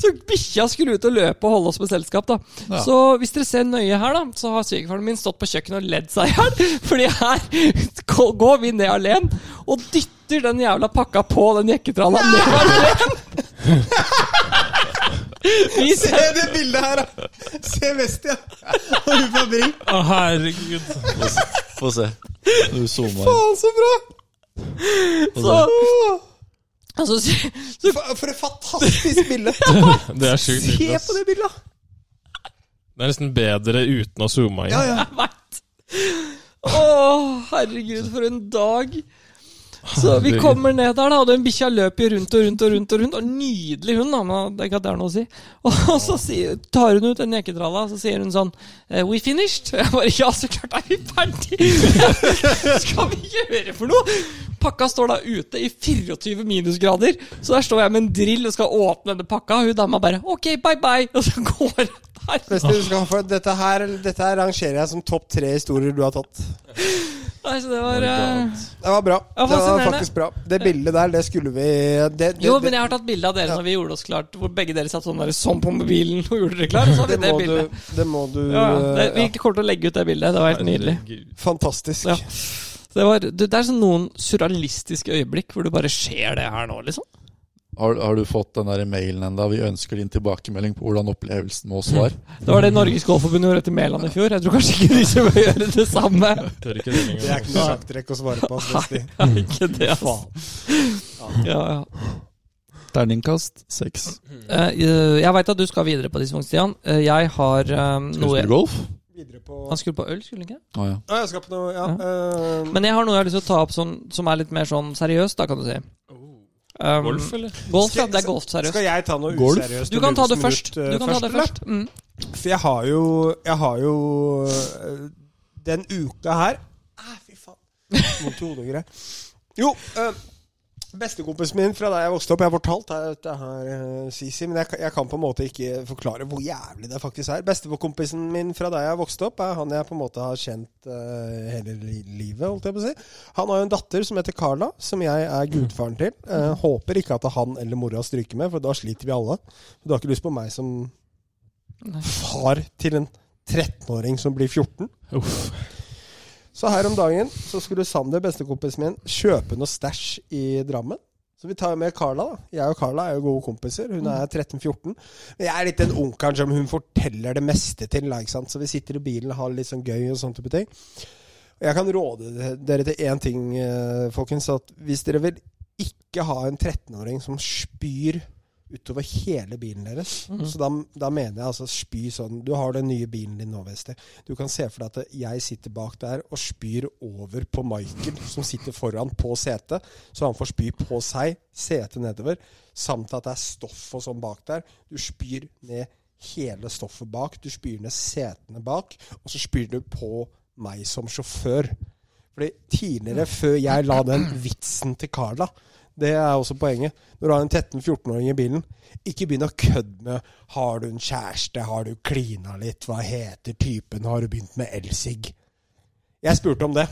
Så bikkja skulle ut og løpe og holde oss med selskap, da. Så hvis dere ser nøye her, da, så har svigerfaren min stått på kjøkkenet og ledd seg i hjel. Fordi her gå- går vi ned alene og dytter den jævla pakka på den jekketralla ned alene! Vi
Se
ser
det bildet her, da! Se Vestia og hun fra Bring.
Å, herregud.
Få se. Du zooma inn.
Faen, så bra!
så altså, så- så
For, for et fantastisk bilde.
Det er sjukt.
Se
likt, ass.
på det bildet, da!
Det er nesten bedre uten å zoome inn.
Ja, ja.
Jeg vet. Å, herregud, for en dag. Så vi
Herregud.
kommer ned der, da, og den bikkja løper jo rundt og rundt og rundt. Og rundt Og nydelig hund, da, men det er ikke at det er noe å si. Og så sier, tar hun ut den jekketralla, og så sier hun sånn eh, We finished? Jeg bare Ja, så klart er vi ferdig! Hva skal vi gjøre for noe? Pakka står da ute i 24 minusgrader, så der står jeg med en drill og skal åpne denne pakka, og hun dama bare OK, bye bye! Og så går hun der.
Vestia, du skal ha for dette her, dette her rangerer jeg som topp tre historier du har tatt.
Nei, så det var eh,
Det var bra.
Ja,
Det var
fascinerende.
faktisk bra. Det bildet der, det skulle vi det, det,
Jo,
det,
men jeg har tatt bilde av dere når vi gjorde oss klart. Hvor begge dere satt sånn der sånn på mobilen og gjorde dere klar. Så hadde
det,
vi det
må
bildet.
du, det må du eh,
Ja, ja. det, vi
ja.
kommer til å legge ut det bildet. Det var helt nydelig.
Herregud.
Fantastisk.
Ja. Så det, var, det, det er sånn noen surrealistiske øyeblikk hvor det bare skjer det her nå, liksom.
Har, har du fått den der mailen enda? Vi ønsker din tilbakemelding på hvordan opplevelsen med oss var.
Det var det Norges Golfforbund gjorde etter Mæland i fjor. Jeg tror kanskje ikke de som vil gjøre det samme.
Tør ikke det
Det er
lenger.
ikke noe sjakktrekk å svare på. altså, ass, Vesti.
Ja, ikke det, altså. Ja, ja.
Terningkast seks.
Eh, Jeg veit at du skal videre på disse punktene, Stian. Eh, Jeg har eh,
Skal vi
noe
spille golf?
Videre på
Han skulle på øl, skulle han ikke?
Å ja.
Ja, jeg skal på noe ja.
Ja.
eh,
Men jeg har noe jeg har lyst til å ta opp som, som er litt mer sånn seriøst, da, kan du si. Um,
Golf, eller?
Golf, ja.
Skal-
Det er golf, seriøst.
Skal jeg ta noe
Golf?
useriøst?
Du
og
kan ta det
lurvesmurt,
først.
eh,
Du kan ta det
eller?
først. Mm.
For jeg har jo Jeg har jo øh, Den uka her ah, Fy faen. Vondt i hodet og greier. Jo, øh, Bestekompisen min fra da jeg vokste opp, jeg har fortalt her, dette her eh, Sisi, men jeg, kan- jeg kan på en måte ikke forklare hvor jævlig det faktisk er. Bestekompisen min fra da jeg vokste opp, er han jeg på en måte har kjent eh, hele li- livet, holdt jeg på å si. Han har jo en datter som heter Carla, som jeg er gudfaren til. Eh, håper ikke at han eller mora stryker med, for da sliter vi alle. Du har ikke lyst på meg som
Nei.
far til en 13-åring som blir 14?
Uff.
Så her om dagen så skulle Sander, bestekompisen min, kjøpe noe stæsj i Drammen. Så vi tar jo med Carla. da. Jeg og Carla er jo gode kompiser. Hun er 13-14. Men jeg er litt den onkelen som hun forteller det meste til. da, Ikke sant? Så vi sitter i bilen og har det litt sånn gøy og sånn type ting. Og jeg kan råde de- dere til én ting, eh, folkens. At hvis dere vil ikke ha en 13-åring som spyr utover hele bilen deres Så da, da mener jeg altså spy sånn Du har den nye bilen din nå, Wester. Du kan se for deg at jeg sitter bak der og spyr over på Michael, som sitter foran på setet. Så han får spy på seg, setet nedover, samt at det er stoff og sånn bak der. Du spyr ned hele stoffet bak. Du spyr ned setene bak, og så spyr du på meg som sjåfør. Fordi tidligere, før jeg la den vitsen til Carla det er også poenget. Når du har en 13-14-åring i bilen, ikke begynn å kødde med 'Har du en kjæreste? Har du klina litt? Hva heter typen? Har du begynt med elsig?' Jeg spurte om det.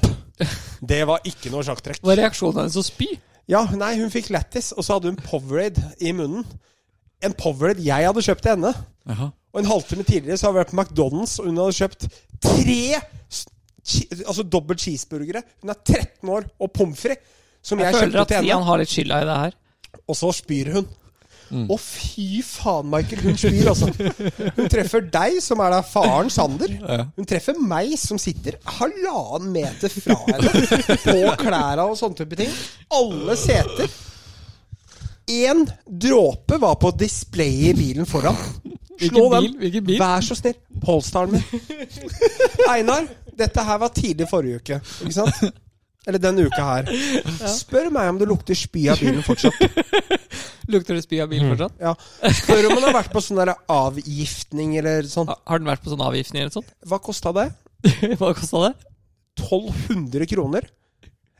Det var ikke noe sjakktrekk.
Hva er reaksjonen hennes å spy?
Ja, nei, hun fikk lættis, og så hadde hun Powerade i munnen. En Powerade jeg hadde kjøpt til henne.
Jaha.
Og en halvtime tidligere så hadde vi vært på McDonald's, og hun hadde kjøpt tre s- che- Altså dobbelt cheeseburgere. Hun er 13 år og pommes frites, som jeg,
Jeg føler
kjøpte
at
til henne.
Stian har litt skylda i det her.
Og så spyr hun. Å, fy faen, Michael. Hun spyr, altså. Hun treffer deg, som er da faren Sander. Hun treffer meg, som sitter halvannen meter fra henne, på klærne og sånne type ting. Alle seter. Én dråpe var på displayet i bilen foran. Slå
Hvilken
den.
bil? Hvilken bil?
Vær så snill. Polestaren min. Einar, dette her var tidlig forrige uke. Ikke sant? Eller denne uka her. Spør meg om det lukter spy av bilen fortsatt.
Lukter det spy av bilen fortsatt?
Ja. Spør om han har vært på sånn der avgiftning eller sånn.
Ha- Har den vært på sånn avgiftning eller sånt?
Hva kosta det?
Hva kosta det?
1200 kroner.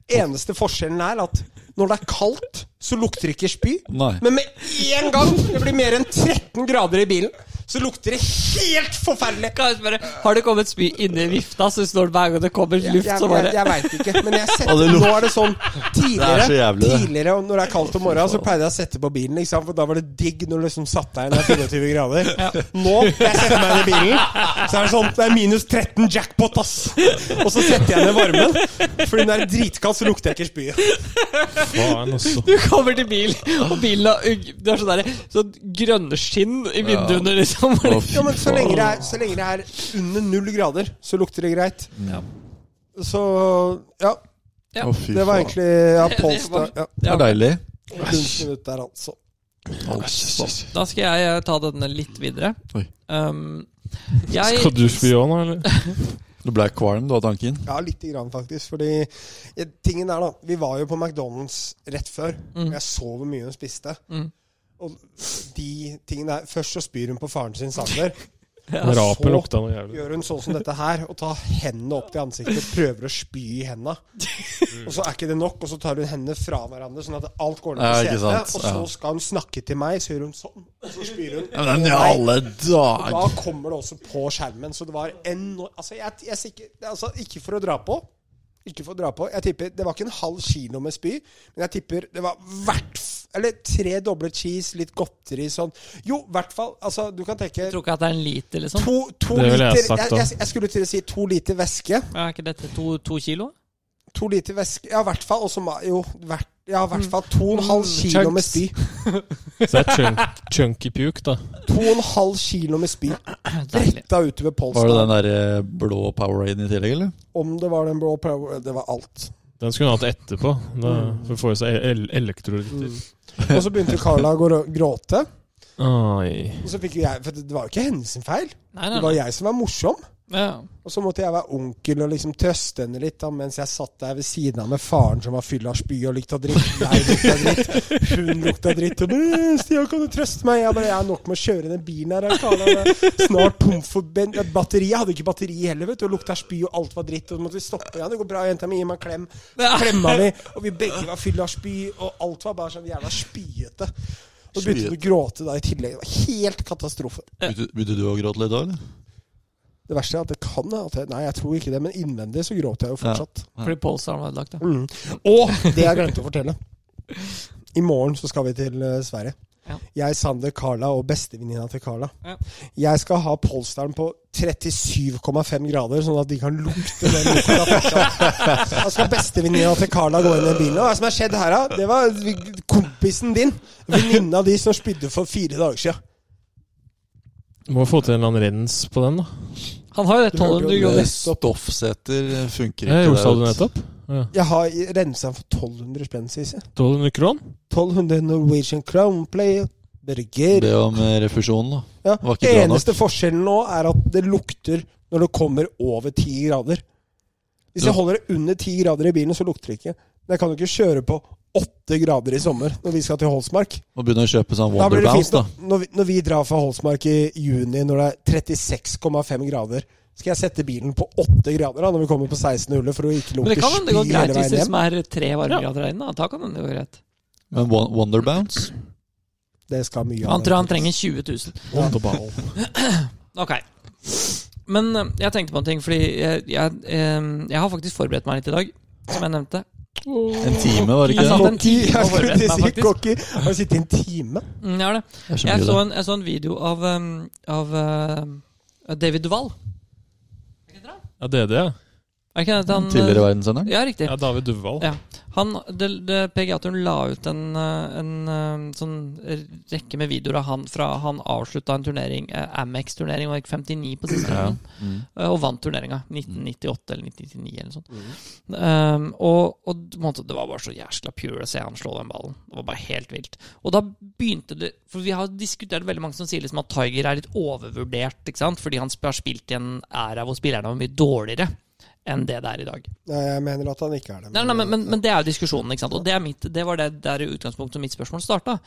Eneste forskjellen er at når det er kaldt, så lukter det ikke spy.
Nei.
Men med en gang det blir mer enn 13 grader i bilen, så lukter det helt forferdelig.
Kan jeg spørre, Har det kommet spy inni vifta, så står det hver gang det kommer
Jeg,
luft,
jeg,
så bare
jeg, jeg veit ikke, men jeg setter,
Og det luk-
nå er det sånn Tidligere,
Det er så jævlig, det.
tidligere og når det er kaldt om morgenen, så pleide jeg å sette på bilen. Ikke sant? For da var det digg når du liksom satt deg ned 24 grader. Nå, når jeg setter meg ned i bilen, så er det sånn Det er minus 13 jackpot, ass! Og så setter jeg ned varmen, fordi når det er dritkald, så lukter jeg ikke spyet.
Faen også.
Du kommer til bil, og bilen har ugg- Det er sånn derre sånn grønne skinn i vinduene, liksom.
Å, fy
Ja, men så
faen.
lenge, det er, så lenge det er under null grader, så lukter det greit.
Ja.
Så ja.
Ja,
Å, fy
Det var
faen.
egentlig ja,
Det- det
Polestar. Ja,
Det er deilig.
kunsten ut der, altså.
Da skal jeg eh, ta denne litt videre.
Oi.
Um, jeg
Skal du spy òg nå, eller?
Du ble kvalm, du, av tanken?
Ja, lite grann faktisk. Fordi eh, tingen er da, vi var jo på McDonald's rett før.
Mm.
Og jeg så hvor mye hun spiste. Og de tingene der, Først så spyr hun på faren sin, Sander.
Rapet
så-
lukta noe jævlig.
Gjør hun sånn som dette her, og tar hendene opp til ansiktet og prøver å spy i henda. Og så er ikke det nok, og så tar hun hendene fra hverandre, sånn at alt går ned
Ja,
på
ikke
setet.
sant,
Og så
ja.
skal hun snakke til meg, så gjør hun sånn, og så spyr hun.
Men i
Nei.
alle
Da
dager
kommer det også på skjermen. Så det var enormt altså, jeg, jeg, er sikker- det er altså, Ikke for å dra på. Ikke for å dra på. Jeg tipper Det var ikke en halv kilo med spy, men jeg tipper det var hvert f- Eller tre doble cheese, litt godteri, sånn. Jo, i hvert fall. Altså, du kan tenke
tror ikke at det er en liter, liksom.
To, to
Det ville jeg
liter jeg,
sagt da.
jeg, jeg skulle til å si to liter væske.
Er ikke dette to, to kilo?
To liter væske Ja, i hvert fall. Og så ma- Jo, hvert, ja, i hvert fall to og en
Mm,
halv kilo med spy.
Så det er chunk, chunky puke, da.
To og en halv kilo med spy
Deilig.
retta utover
Var det den
Polestar.
der eh, blå Poweraden i tillegg, eller?
Om det var den blå power Det var alt.
Den skulle hun hatt etterpå. Da,
Mm.
for å få i seg el elektrolytter.
Og så begynte Carla å gå- gråte.
Ai.
Mm. Og så fikk jo jeg, for det var jo ikke hennes sin feil.
Nei,
Det
nei,
var
nei.
jeg som var morsom.
Ja.
Og så måtte jeg være onkel og liksom trøste henne litt da, mens jeg satt der ved siden av med faren som var fylla av spy og lukta dritt. Jeg lukta dritt. Hun lukta dritt. Og bare, «Øh, Stian, kan du trøste meg? Jeg bare, jeg har nok med å kjøre den bilen her. jeg kaller det Snart tom for ben- batteri. Jeg hadde ikke batteri heller, vet du. Og lukta spy, og alt var dritt. Og så måtte vi stoppe. Ja, det går bra, jenta mi. Gi meg en klem. Klemma vi. Og vi begge var fylla av spy, og alt var bare sånn jævla spyete. Og så begynte hun å gråte da i tillegg. Det var helt katastrofe.
Begynte begynte du å gråte litt da, eller?
Det verste er at det kan være at jeg, Nei, jeg tror ikke det, men innvendig så gråter jeg jo fortsatt.
Fordi Polestar var ødelagt, da.
Mm. Og det jeg glemte å fortelle. I morgen så skal vi til eh, Sverige.
Ja.
Jeg, Sander, Carla og bestevenninna til Carla.
Ja.
Jeg skal ha polsteren på 37,5 grader, sånn at de kan lukte den lukten. av polsteren. Da skal bestevenninna til Carla gå inn i bilen. Og hva som har skjedd her, da? Det var kompisen din. Venninna di som spydde for fire dager siden.
Må få til en eller annen rens på den, da.
Han har jo det
Du hørte
1200
jo det.
kroner.
Eh, Stoffseter eh, funker ikke.
Jeg gjorde
der,
sa
vet
du
du.
nettopp. Ja.
Jeg har rensa den for 1200 spenn, Sisi.
1200 kron?
1200 Norwegian Crown Play Burger.
Be om eh, refusjon, da.
Ja.
var ikke bra nok.
Eneste forskjellen nå er at det lukter når det kommer over 10 grader. Hvis
Ja.
jeg holder det under 10 grader i bilen, så lukter det ikke. Men jeg kan jo ikke kjøre på 8 grader i sommer når vi skal til Holsmark.
Må begynne å kjøpe sånn
Da blir det
Wonderbounce,
fint.
da.
Når, når, vi, når vi drar fra Holsmark i juni, når det er 36,5 grader, skal jeg sette bilen på 8 grader da når vi kommer på 16. hullet, for å ikke
Men det
lukte
kan hende det
spy
går greit
hele
hvis
veien
det
hjem.
som er tre varmegrader her inne. Da Da kan hende det går greit.
Men Won- Wonderbounce?
Det skal mye
Han tror han trenger 20 000.
Wonderball.
Ok. Men eh, jeg tenkte på en ting, fordi jeg, jeg, eh, jeg har faktisk forberedt meg litt i dag, som jeg nevnte.
En time, var det
Jeg
ikke
satt
det?
en time
Jeg
og
skulle
forberedte
til å
meg,
si
faktisk.
cocky. Har du sittet i en time?
Mm, Jeg, har det.
Det er så
jeg,
mye,
så
det.
en, jeg så en video av, eh, av eh, David Duval.
Ja, DD, ja.
Er ikke det han eh,
Tidligere verdenssenderen?
Ja, riktig.
ja David Duvvall.
Ja. Han, det, det, PGA-turen la ut en, eh, en eh, sånn rekke med videoer av han fra han avslutta en turnering, eh, Amex-turnering, var det ikke 59 på siste runden?
Mm.
Eh, Og vant turneringa. 1998 eller 1999 eller noe sånt. Um, og, og på en måte, det var bare så jæskla pure å se han slå den ballen. Det var bare helt vilt. Og da begynte det For vi har diskutert veldig mange som sier liksom at Tiger er litt overvurdert, ikke sant? fordi han sp- har spilt i en æra hvor spillerne var mye dårligere enn det det er i dag.
Nei, jeg mener at han ikke er det.
Nei, nei, men, men, men det er jo diskusjonen, ikke sant. Og det, er mitt, det var det der i utgangspunktet mitt spørsmål starta.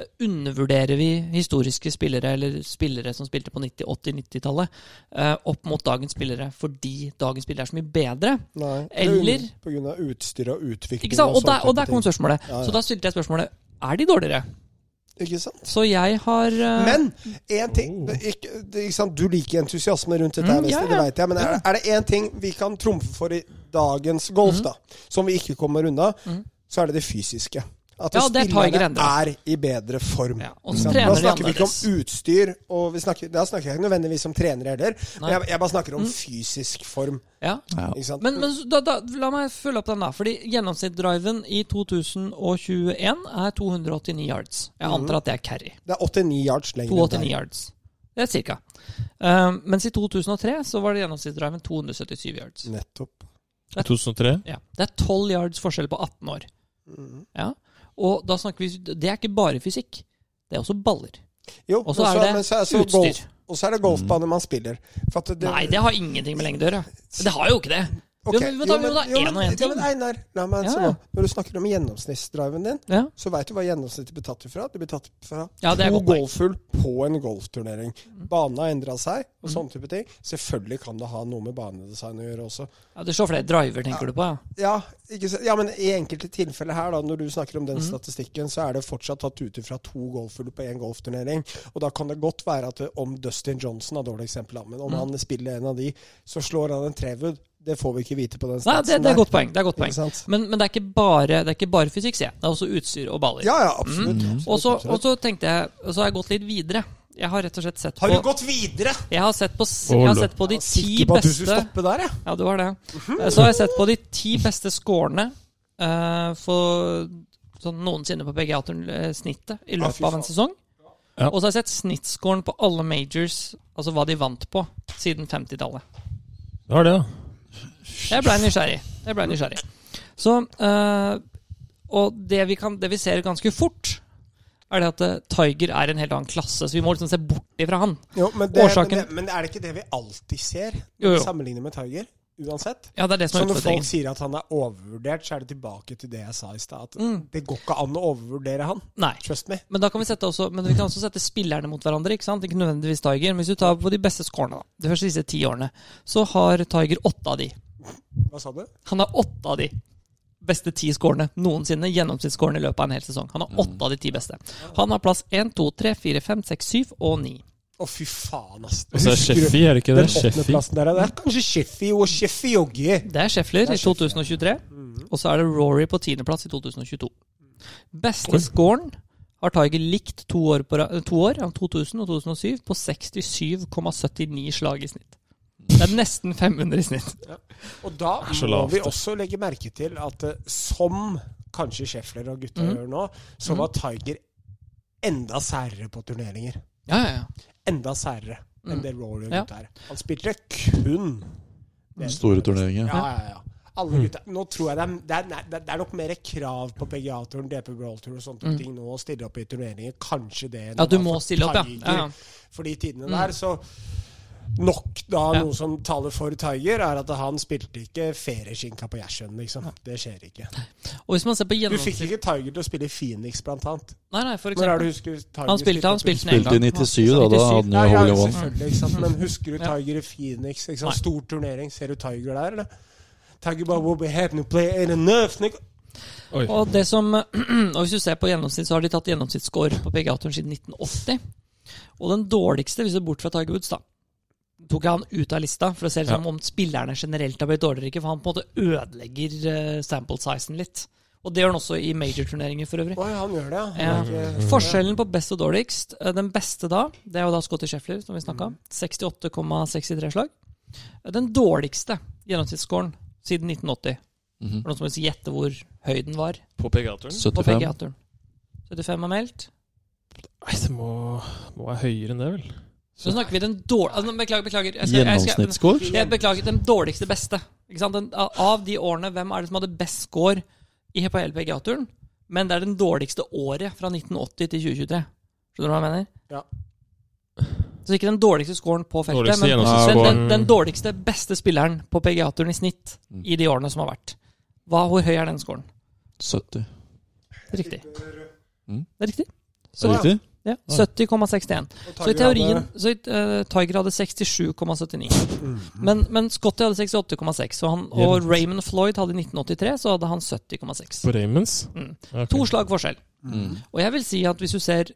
Eh, Undervurderer vi historiske spillere, eller spillere som spilte på 90-, 80-, 90-tallet, eh, opp mot dagens spillere fordi dagens spillere er så mye bedre?
Nei, det er
Eller-
un- På grunn av utstyr og utvikling.
Ikke sant? Og
sånne
der, og
type
der kom
ting.
spørsmålet.
Ja, ja.
Så da stilte jeg spørsmålet er de dårligere.
Ikke sant?
Så jeg har eh,
Men én ting ikke, det- ikke sant? Du liker entusiasme rundt dette, her,
Mm, ja, ja.
Wesley, det vet jeg. Men er, er det én ting vi kan trumfe for i dagens golf, da,
Mm.
som vi ikke kommer unna, så er det det fysiske. At
Ja, det er Tiger
spillerne
endra.
er i bedre form.
Ja, og så
Ikke sant?
trener
Da
de
snakker vi ikke om
annerledes.
utstyr, og vi snakker, da snakker jeg ikke nødvendigvis om trenere heller. Men
Nei.
jeg, jeg bare snakker om fysisk form.
ja.
Ja.
Ikke sant?
Men, men så da, da, la meg følge opp den, da. Fordi gjennomsnittsdriven i 2021 er 289 yards. Jeg
Mhm.
antar at det er carry.
det er 89 yards lenger. enn
289
deg.
yards. Det er cirka. Um, mens i 2003 så var det gjennomsnittsdriven 277 yards.
Nettopp.
2003.
Ja. Det er 12 yards forskjell på 18 år.
Mm.
Ja. Og da snakker vi Det er ikke bare fysikk. Det er også baller.
Jo,
Og så
men
er det
men så er så
utstyr.
golf- Og så er det golfbane man spiller. For at det,
Nei, det har ingenting med lengde å gjøre. Det har jo ikke det.
Ok,
Jo, men vi tar- vi tar
jo,
en og en
jo,
ting.
men Einar, la meg
Ja,
så
ja.
nå. Når du snakker om gjennomsnittsdriven din,
Ja.
så veit du hva gjennomsnittet blir tatt ifra. Det blir tatt fra
Ja, det er
to
godt poeng. Mm.
golfhull på en golfturnering. Banen har endra seg, og sånne type ting. Selvfølgelig kan det ha noe med banedesign å gjøre også.
Ja, det står flere driver, tenker du på? Ja.
Ja, ikke, så- ja, men i enkelte tilfeller her, da, når du snakker om den
Mhm.
statistikken, så er det fortsatt tatt ut fra to golfhull på én golfturnering. Og da kan det godt være at det, om Dustin Johnson er dårlig eksempel, da, men
Mhm.
om han spiller en av de, så slår han en trewood. Det får vi ikke vite på den
Nei,
statsen
det, det er
der.
godt poeng. Det er godt poeng.
sånn Ikke sant?
Men, men det, er ikke bare, det er ikke bare fysikk, sier jeg. Det er også utstyr og baller.
Ja, ja,
Mhm.
absolutt.
Mm.
absolutt,
og, så, og
absolutt.
så tenkte jeg og Så har jeg gått litt videre. Jeg har rett og slett sett på
Har du gått videre?
Jeg har sett på, s- jeg har
Ole.
sett på de ti
Sikker på at du skulle
beste
stoppe der, jeg.
Ja, det var det. Så har jeg sett på de ti beste scorene eh, for sånn noensinne på PGA-snittet i
Ah, fy
løpet av en
faen.
sesong.
Ja.
Og så har jeg sett snittscoren på alle majors, altså hva de vant på, siden 50-tallet.
Det var det, da.
Jeg blei nysgjerrig. Jeg ble nysgjerrig. Så eh, Og det vi, kan, det vi ser ganske fort, er det at eh, Tiger er en helt annen klasse, så vi må liksom se bort ifra han.
Jo, men, det,
Årsaken-
men, det, men er det ikke det vi alltid ser?
Jo, jo.
Sammenlignet med Tiger? Uansett.
Ja, det er det som
Så
er
når folk
utfordringen.
sier at han er overvurdert, så er det tilbake til det jeg sa i stad. At
Mm.
det går ikke an å overvurdere han.
Nei.
Trust me.
Men da kan vi sette også, men vi kan også sette spillerne mot hverandre. Ikke sant? Ikke nødvendigvis Tiger, men hvis du tar på de beste scorene, da, de første disse ti årene, så har Tiger åtte av de.
Hva sa du?
Han har åtte av de beste ti scorene noensinne. Gjennomsnittsscorene i løpet av en hel sesong. Han har åtte av de ti beste. Han har plass én, to, tre, fire, fem, seks, syv og ni.
Å, fy faen, ass.
Og så er det
Husker du
Sheffi, er det ikke det?
Den
Sheffi.
åttendeplassen der, det er kanskje Sheffi og Sheffi Joggi.
Det er Scheffler
Det er Mm.
i 2023. Og så er det Rory på tiendeplass i 2022. Beste
Oi.
scoren har Tiger likt to år, på, ra- to år, av 2000 og 2007, på 67,79 slag i snitt. Det er nesten 500 i snitt.
Og da
er så
må
lavt,
vi
det.
også legge merke til at eh, som kanskje Schäffler og gutta
Mhm.
gjør nå, så var Tiger enda særere på turneringer.
Ja, ja, ja.
Enda særere enn
Mhm.
det Rory og
Ja.
gutta er. Han spilte kun det-
Store turneringer.
Ja, ja, ja.
Hmm.
Alle gutta. Nå tror jeg det er, det er, nei, det er nok mer krav på PGA-turen, DP World Tour og sånne type ting nå, å stille opp i turneringer. Kanskje det. enn
Hmm. Ja,
det
du
var
må
for
stille opp, ja.
Tiger.
Ja, ja.
For de tidene der, så Nok da
Ja.
noe som taler for Tiger, er at han spilte ikke ferieskinka på Gjersjøen, liksom. Det skjer ikke.
Og hvis man ser på
Du fikk
gjennomsnitt...
ikke Tiger til å spille i Phoenix, blant annet.
Nei, nei, for
Når er
eksempel.
det du husker Tiger
Han spilte, han
spilte
spilte
Spilte
den en
i
gang.
97, da. Da
97.
hadde
Ja,
han jo hole
ja,
in one.
selvfølgelig, ikke sant. Men husker du
Ja.
Tiger i Phoenix? Ikke
Nei.
sant? Stor turnering. Ser du Tiger der, eller? Tiger bare will be happy to play in a nerf, nigga.
Oi.
Og, det som, og hvis du ser på gjennomsnitt, så har de tatt gjennomsnittsscore på PGA-turen siden 1980. Og den dårligste, hvis du er bort fra Tiger Woods, da, tok jeg han ut av lista, for å se liksom om spillerne generelt har blitt dårligere, ikke, for han på en måte ødelegger eh, sample sizen litt. Og det gjør han også i major-turneringer, for øvrig.
Oi, han gjør det, ja.
Ja.
Det er ikke-
Forskjellen på best og dårligst eh, Den beste da, det er jo da Scotty Scheffler, som vi snakka om. 68,63 slag. Eh, Den dårligste gjennomsnittsscoren siden 1980.
Mhm.
Er det Noen som vil gjette hvor høy den var?
På PGA-turen?
På
75.
PGA-turen. 75 er meldt.
Nei, det må, må være høyere enn det, vel.
Så snakker vi den dårligste altså, Beklager, beklager. Jeg skal- jeg skal-
Gjennomsnittsscore?
Jeg beklager, den dårligste beste. Ikke sant? Den, av de årene, hvem er det som hadde best score i på hele PGA-turen? Men det er den dårligste året fra 1980 til 2023. Skjønner du hva jeg mener?
Ja.
Så ikke den dårligste scoren på feltet,
Dårligste
men den,
gjennomsnittsscoren.
den, den dårligste, beste spilleren på PGA-turen i snitt i de årene som har vært. Hva, hvor høy er den scoren?
70.
Riktig.
Mm.
Det er riktig.
Er det riktig?
Ja, 70,61.
Og
Så i
Tiger
teorien
hadde- Mhm.
så i, eh, Tiger hadde 67,79.
Mm.
Mm.
Men, men Scotty hadde 68,6. Og, han, og
Jevnt.
Raymond Floyd hadde i 1983, så hadde han 70,6.
På Raymonds?
Mm.
Ok.
To slag forskjell.
Mm.
Og jeg vil si at hvis du ser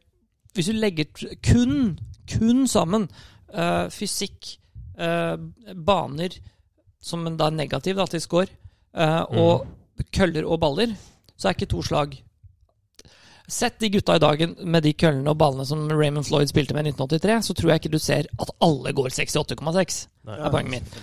Hvis du legger t- kun, kun sammen eh, fysikk, eh, baner som en da er negativ da, til score, eh, og køller og baller, så er ikke to slag Sett de gutta i dagen med de køllene og ballene som Raymond Floyd spilte med i 1983, så tror jeg ikke du ser at alle går 68,6.
Nei.
er poenget mitt.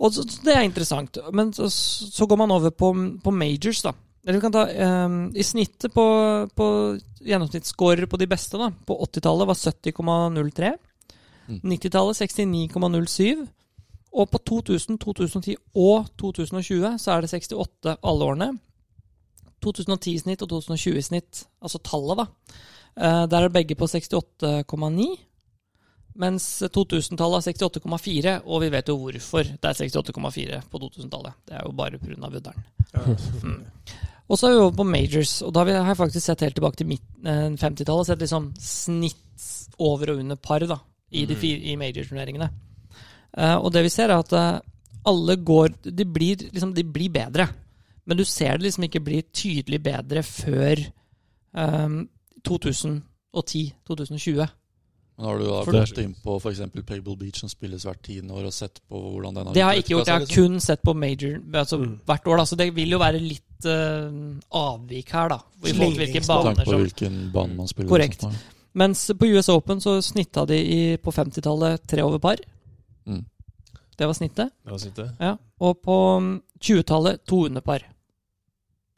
Og så, så Det er interessant. Men så, så går man over på, på majors, da. Eller vi kan ta eh, I snittet på, på gjennomsnittsscorer på de beste da, på 80-tallet var 70,03.
Mm.
90-tallet 69,07. Og på 2000, 2010 og 2020 så er det 68 alle årene. 2010-snitt og 2020-snitt, altså tallet, da. Eh, der er begge på 68,9. Mens 2000-tallet er 68,4, og vi vet jo hvorfor det er 68,4 på 2000-tallet. Det er jo bare pga. Wudderen. Mm. Og så er vi over på majors, og da har vi- har jeg faktisk sett helt tilbake til midt- eh, 50-tallet. Sett liksom snitt over og under par da, i, de fire, i major-turneringene. Eh, og det vi ser, er at eh, alle går de blir, liksom, de blir bedre, men du ser det liksom ikke bli tydelig bedre før eh, 2010-2020.
Men har du da
For-
vært innpå f.eks. Pebble Beach, som spilles hvert tiende år, og sett på hvordan den har
Det har jeg ikke gjort.
utviklet
Jeg har
seg, liksom?
kun sett på major altså, hvert år. Da. Så det vil jo være litt eh, avvik her, da. I forhold til hvilke
liksom? Med
baner
Slingringsmonn.
tanke på
som
hvilken bane man spiller.
Korrekt.
og sånt,
Mens på US Open så snitta de i, på 50-tallet tre over par.
da. Mm.
Det var snittet.
Det var sitte.
Ja. Og på mm, 20-tallet to under par.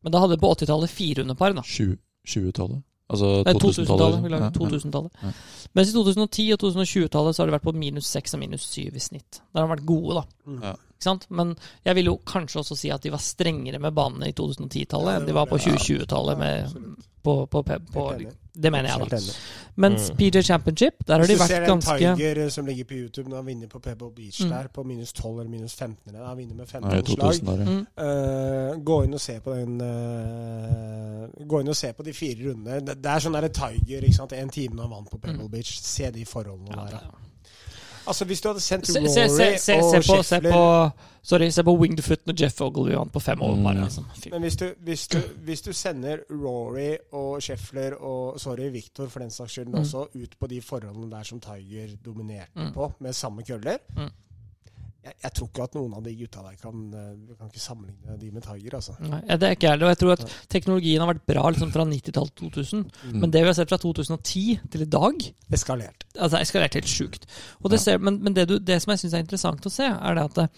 Men da hadde de på 80-tallet fire under par, da.
20 20-tallet? Altså
Nei, 2000-tallet.
2000-tallet.
beklager,
Ja, ja.
2000-tallet.
Ja.
Mens i 2010- og 2020-tallet så har det vært på minus 6 og minus 7 i snitt. Der har de vært gode, da.
Mm.
Ja.
Ikke sant? Men jeg vil jo kanskje også si at de var strengere med banene i 2010-tallet
Ja, det
enn de
var
var på
det.
2020-tallet med-
Absolutt.
på på, på, på, på
Helt enig.
Det mener jeg,
Helt
da.
enig. Mm.
Mens PJ Championship, der har de
Hvis du ser
vært
den
ganske
Tiger eh, som ligger på YouTube når han vinner på Pebble Beach
Mm.
der, på minus 12 eller minus 15 eller, Han vinner med
Nei,
15 slag.
2000 år, ja.
mm,
Eh, gå inn og se på den eh, Gå inn og se på de fire rundene. Det, det er sånn derre Tiger. ikke sant? En time når han vant på Pebble Beach. Se de forholdene
Mm. ja,
der.
det-
da. Altså, hvis du hadde sendt
Se,
Rory
se, se, se, se,
og
på, se
Scheffler
på Sorry, se på Winged Foot når Jeff Ogilvy vant på fem år, bare. Liksom. Fy.
Men hvis du, hvis, du, hvis du sender Rory og Scheffler og sorry, Victor for den saks skyld også ut på de forholdene der som Tiger dominerte
Mm.
på, med samme køller
Mm.
jeg, jeg tror ikke at noen av de gutta der kan eh, Vi kan ikke sammenligne de med Tiger, altså.
Nei, det er ikke ærlig, og jeg tror at teknologien har vært bra liksom, fra 90-tallet til 2000, men det vi har sett fra 2010 til i dag,
Eskalert.
altså det eskalert helt sjukt. Og det ser, men men det, du, det som jeg syns er interessant å se, er det at det,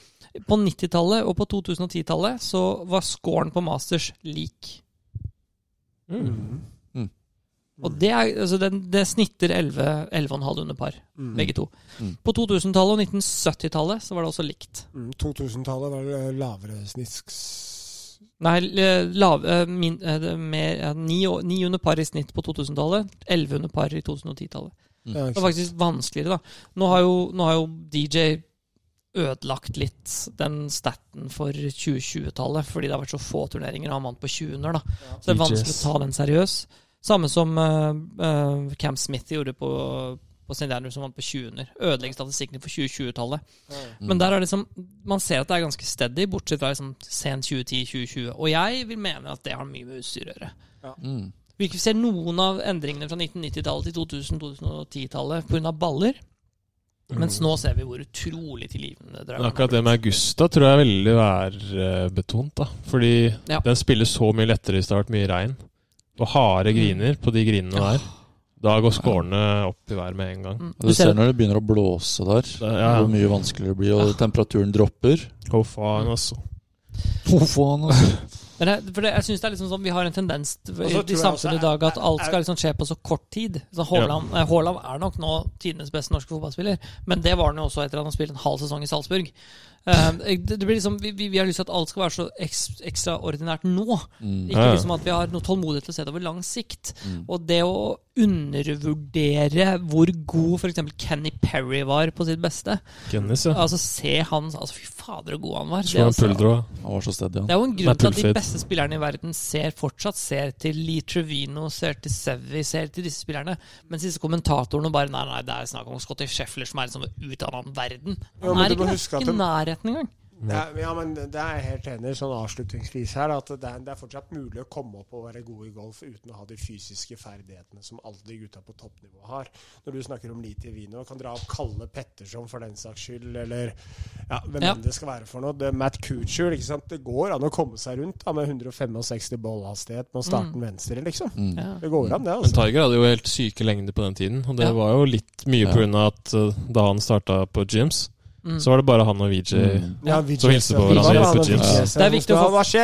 på 90-tallet og på 2010-tallet så var scoren på Masters lik. Mm.
Mm.
Mm.
Og det, er, altså den, det snitter 11 11,5 under par,
Mm.
begge to.
Mm.
På 2000-tallet og 1970-tallet så var det også likt.
Mm. 2000-tallet var det lavere snisk
Nei, eh, lav, eh, min, eh, det er mer, eh, ni, år- ni under par i snitt på 2000-tallet, 11 under par i 2010-tallet.
Ja, ikke
Det var faktisk vanskeligere, da. Nå har jo, nå har jo DJ ødelagt litt den staten for 2020-tallet, fordi det har vært så få turneringer, og han vant på 20 under, da. Så det er vanskelig å
DJs.
ta den seriøs. Samme som eh, eh, Cam Smith gjorde på, på St. Andrews, som vant på 20 under. Ødelegger statistikkene for 2020-tallet.
sant?
Men der er det liksom, man ser at det er ganske steady, bortsett fra liksom, sent 2010-2020. Og jeg vil mene at det har mye med utstyr å gjøre.
Mm.
Vi ikke ser noen av endringene fra 1990-tallet til 2000-2010-tallet pga. baller. Mens nå ser vi hvor utrolig tilgivende
Men
Dragon
Mm. akkurat det med Augusta tror jeg er veldig værbetont. da. Fordi
Ja.
den spiller så mye lettere i start, mye regn. Og
Mm.
harde griner på de grinene der. Da går skårene opp i været med en gang.
Mm.
Du ser når det begynner å blåse der,
Det- ja.
hvor mye vanskeligere det blir, og temperaturen dropper.
Hva faen, altså.
Hva faen, altså?
Men det, for det, jeg synes det er liksom sånn Vi har en tendens til-
Og så tror
i
jeg også
samfunnet i
er-
dag at
er-
alt
er-
skal liksom skje på så kort tid. Så Haaland eh, Haaland er nok nå tidenes beste norske fotballspiller, men det var han jo også etter at han spilte en halv sesong i Salzburg. Eh, det, det blir liksom, vi, vi, vi har lyst til at alt skal være så eks, ekstraordinært nå.
Mm.
Ikke
Ja, ja.
liksom at vi har noe tålmodighet til å se det over lang sikt.
Mm.
Og det å undervurdere hvor god f.eks. Kenny Perry var på sitt beste
Kennis, ja.
Altså se han altså Fy fader, så god han var.
Slå en
altså-
pulldrå.
Han var så steady,
det
han.
er jo en
Nei,
grunn til at de
pulfit.
beste spillerne i verden ser fortsatt ser til Lee Trevino, ser til Sevi, ser til disse spillerne. Mens disse kommentatorene bare Nei, nei, det er snakk om Scotty Scheffler som er liksom ut av den annen verden.
Ja,
Han
men
er
du må
ikke
huske at
nær- ikke
de-
i nærheten engang.
Ja, ja, men det er jeg helt enig i, sånn avslutningsvis her, at det er, det er fortsatt mulig å komme opp og være god i golf uten å ha de fysiske ferdighetene som alle de gutta på toppnivå har. Når du snakker om lite vin og kan dra opp Kalle Petterson for den saks skyld, eller ja, hvem
Ja.
enn det skal være for noe. Det, Matt Kuchel, ikke sant. Det går an å komme seg rundt da, med 165 ballhastighet med å starte den venstre, liksom.
Mm.
Ja.
Det går an, det,
Men
altså.
Tiger hadde jo helt syke lengder på den tiden. Og det
Ja.
var jo litt mye
Ja.
på grunn av at uh, da han starta på gyms,
Mm.
så var det bare han og VJ.
Mm.
Ja,
Så hilser på hverandre, hjelper til.
Det er viktig å få-
få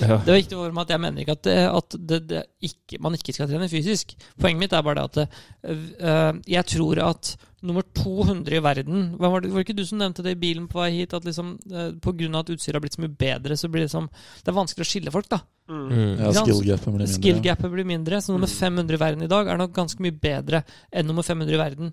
Ja.
Det er viktig for meg at jeg mener ikke at, det, at det, det ikke, man ikke skal trene fysisk. Poenget mitt er bare det at øh, jeg tror at nummer 200 i verden hva var, det, var det ikke du som nevnte det i bilen på vei hit? At liksom, øh, på grunn av at utstyret har blitt så mye bedre, så blir det liksom Det er vanskelig å skille folk, da.
Mm.
Ja, skill-gapen blir mindre.
Skill gapet blir mindre, så nummer 500 i verden i dag er nok ganske mye bedre enn nummer 500 i verden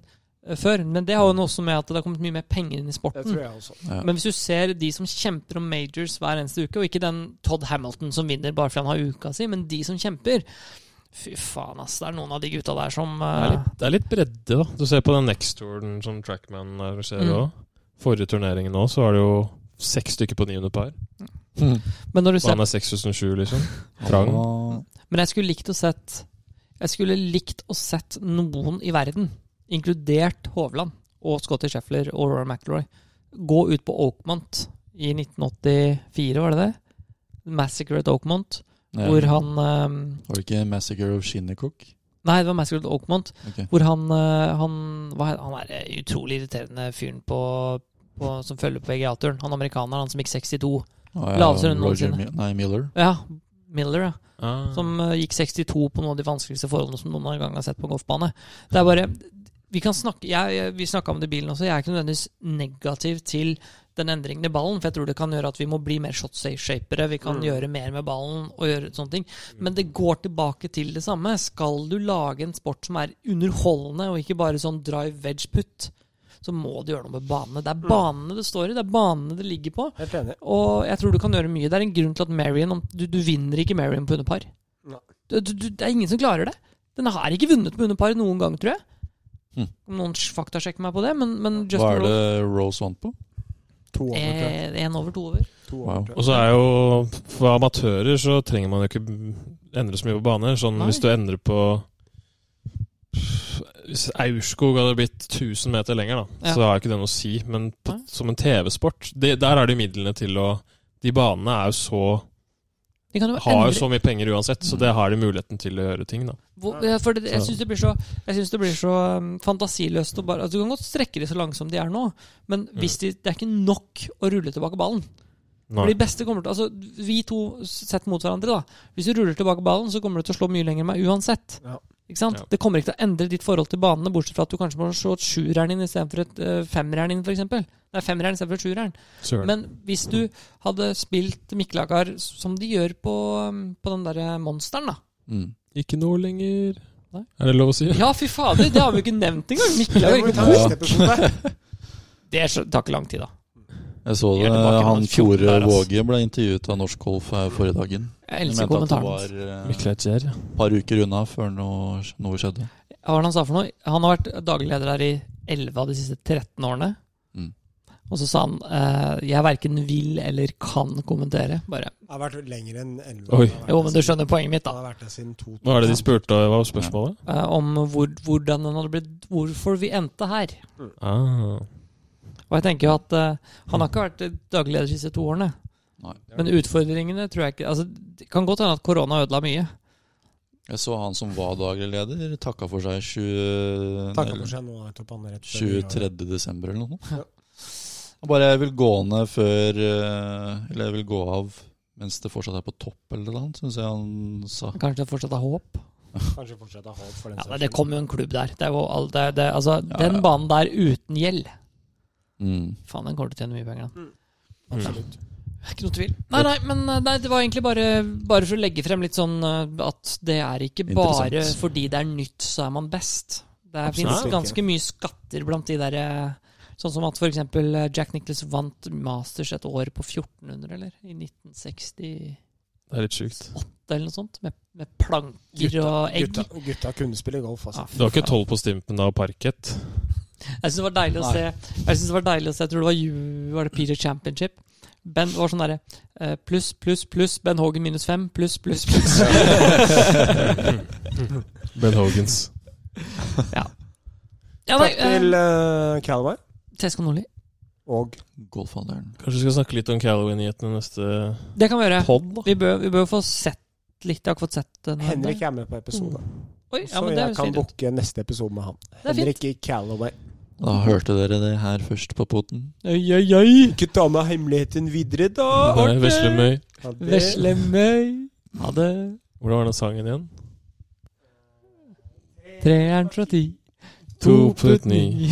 eh, før. Men det har jo noe også med at det har kommet mye mer penger inn i
Det
sporten.
tror jeg også.
Ja.
Men hvis du ser de som kjemper om majors hver eneste uke, og ikke den Todd Hamilton som vinner bare fordi han har uka si, men de som kjemper Fy faen, ass. Det er noen av de gutta der som
Det,
eh,
er litt, det er litt bredde, da. Du ser på den Next-touren som Trackman arrangerer
Mm.
òg. Forrige turneringen nå så var det jo seks stykker på 900 par.
Mm.
men, når du
Og
ser,
han er 6007, liksom.
Han
Trang.
var-
men jeg skulle likt å sett Jeg skulle likt å sett noen i verden, inkludert Hovland og Scotty Scheffler og Rory McIlroy, gå ut på Oakmont i 1984, var det det? Massacre at Oakmont,
Ja.
hvor han eh,
Var det ikke Massacre of Shinnecock?
Nei, det var Massacre at Oakmont.
Ok.
Hvor han, eh, han, hva, he- han er eh, utrolig irriterende fyren på, på, som følger på VGA-turen. Han amerikaneren, han som gikk 62.
Ah, ja,
Laveste runden
Roger
noensinne.
Mi- Nei, Miller.
Ja, Miller, ja.
Ah.
Som eh, gikk 62 på noen av de vanskeligste forholdene som noen gang har sett på en golfbane. Det er bare vi kan snakke, jeg, jeg, vi snakka om det i bilen også. Jeg er ikke nødvendigvis negativ til den endringen i ballen, for jeg tror det kan gjøre at vi må bli mer shot-shapere. Vi kan gjøre mer med ballen og gjøre sånne ting. Men det går tilbake til det samme. Skal du lage en sport som er underholdende, og ikke bare sånn drive wedge putt, så må du gjøre noe med banene. Det er banene det står i, det er banene det ligger på.
Helt enig.
Og jeg tror du kan gjøre mye. Det er en grunn til at Marion om- Du, du vinner ikke Marion på underpar.
Nei.
Du, du, du, det er ingen som klarer det. Den har ikke vunnet på underpar noen gang, tror jeg.
Hm.
Om noen faktasjekker meg på det, men, men
Hva
Justin
er det
Rose
Rose vant på?
To over, tror jeg.
er én over to over.
To
Wow.
over, tror jeg.
Og så er jo For amatører så trenger man jo ikke endre så mye på baner. Sånn
Nei.
hvis du endrer på Hvis Aurskog hadde blitt 1000 meter lenger, da,
Ja.
så har ikke det noe å si. Men på,
Nei.
som en TV-sport, det- der er det midlene til å De banene er jo så,
De kan jo endre-
har jo
sånn-
så mye penger uansett, så det har de muligheten til å gjøre ting, da.
Hvor, ja, for det, jeg
Sånn.
Så-
syns det blir så, jeg synes det blir så um, fantasiløst. Og bare, altså, du kan godt strekke de så langt som de er nå, men
Mm.
hvis de, det er ikke nok å rulle tilbake ballen. For
Nei.
de beste kommer til, altså Vi to sett mot hverandre, da. Hvis du ruller tilbake ballen, så kommer du til å slå mye lenger enn meg uansett.
Ja.
Ikke sant?
Ja.
Det kommer ikke til å endre ditt forhold til banene, bortsett fra at du kanskje må slå et sjueren inn istedenfor et uh, femmer'n inn, f.eks. Nei, femmeren istedenfor et sjueren.
Søren.
Men hvis du hadde spilt Mikkelagar som de gjør på, um, på den derre monsteren, da.
Mm.
Ikke noe lenger
Nei.
Er det lov å si?
Ja, fy fader, det har vi jo ikke nevnt engang! Mikkelagar
Det
er
må vi
ikke
ta
god.
i neste episode.
Det er så- tar ikke lang tid, da.
Jeg så
Vi
det,
er tilbake med
han
den fjorten
Tore
der, ass.
Våge ble intervjuet av Norsk Golf her forrige dagen.
Jeg
Jeg
elsker
mente at det
kommentaren.
var
hans.
eh,
Mikkel Eidskjær, ja.
et par uker unna før noe, noe skjedde.
Hva var det han sa for noe? Han har vært daglig leder her i 11 av de siste 13 årene.
Mm.
Og så sa han eh, 'jeg verken vil eller kan kommentere'. Bare.
Det har vært lenger enn 11
Oi.
Jo, men du skjønner poenget mitt,
Det
da.
har vært det siden 2000.
Hva er det de spurte om? Hva var spørsmålet?
Eh, om hvor, hvordan den hadde blitt Hvorfor vi endte her.
Ah.
Og jeg tenker jo at eh, han har ikke vært daglig leder de siste to årene.
Nei.
Men utfordringene tror jeg ikke altså, Det kan godt hende at korona ødela mye.
Jeg så han som var daglig leder, takka for seg 20,
Takka for
eller
seg nå nettopp, han rett før vi-
23. desember eller noe.
Ja.
Han bare jeg vil gå ned før eh, Eller jeg vil gå av mens det fortsatt er på topp eller noe annet, syns jeg han sa.
Kanskje det fortsatt er håp.
Kanskje fortsatt ha håp for den
Ja,
saks
nei, Det
skyld.
kom jo en klubb der. Det er jo all, det, er- det, altså,
Ja, ja.
Den banen der uten gjeld
Mm.
Faen, den kommer til å tjene mye penger. da.
Mm. Absolutt.
Ikke noe tvil. Nei, nei, men eh, nei, det var egentlig bare, bare for å legge frem litt sånn eh, at det er ikke bare
Interessant.
fordi det er nytt, så er man best. Det
Absolutt
fins
ikke.
ganske mye skatter blant de derre Sånn som at for eksempel eh, Jack Nicklaus vant Masters et år på 1400, eller? I 1968
Det er litt sjukt.
eller noe sånt. Med, med planker
Gutta,
og egg.
Gutta, gutta kunne spille golf, altså.
Ja, fy
Du har ikke
faen.
tolv på stimpen da, parkett?
Jeg syns det var deilig å
Nei.
se Jeg synes det var deilig å se Jeg tror det var, ju- var det Peter Championship. Ben var sånn derre eh, pluss, pluss, pluss. Ben Hogan minus fem. Pluss, pluss, pluss.
Ben Hogans.
Ja, nei,
Takk til
eh,
uh, Calaway
Tesco Nordli.
og
Golfhandleren.
Kanskje vi skal snakke litt om Calaway-nyhetene neste
Det kan vi gjøre.
pod, da?
Vi bør, vi bør få sett litt. Jeg har ikke fått sett den. ennå.
Henrik er med på episode.
Oi, ja,
Så
men det
jeg
er jo
kan
fint. ut.
booke neste episode med han.
er fint.
Henrik i Calaway.
Da hørte dere det her først på poten.
Oi, oi, oi.
Ikke ta med hemmeligheten videre, da!
Nei,
ok.
Veslemøy.
Ja, det-
Veslemøy.
Ha det. Hvordan var den sangen igjen?
Treeren fra ti.
To putt ni.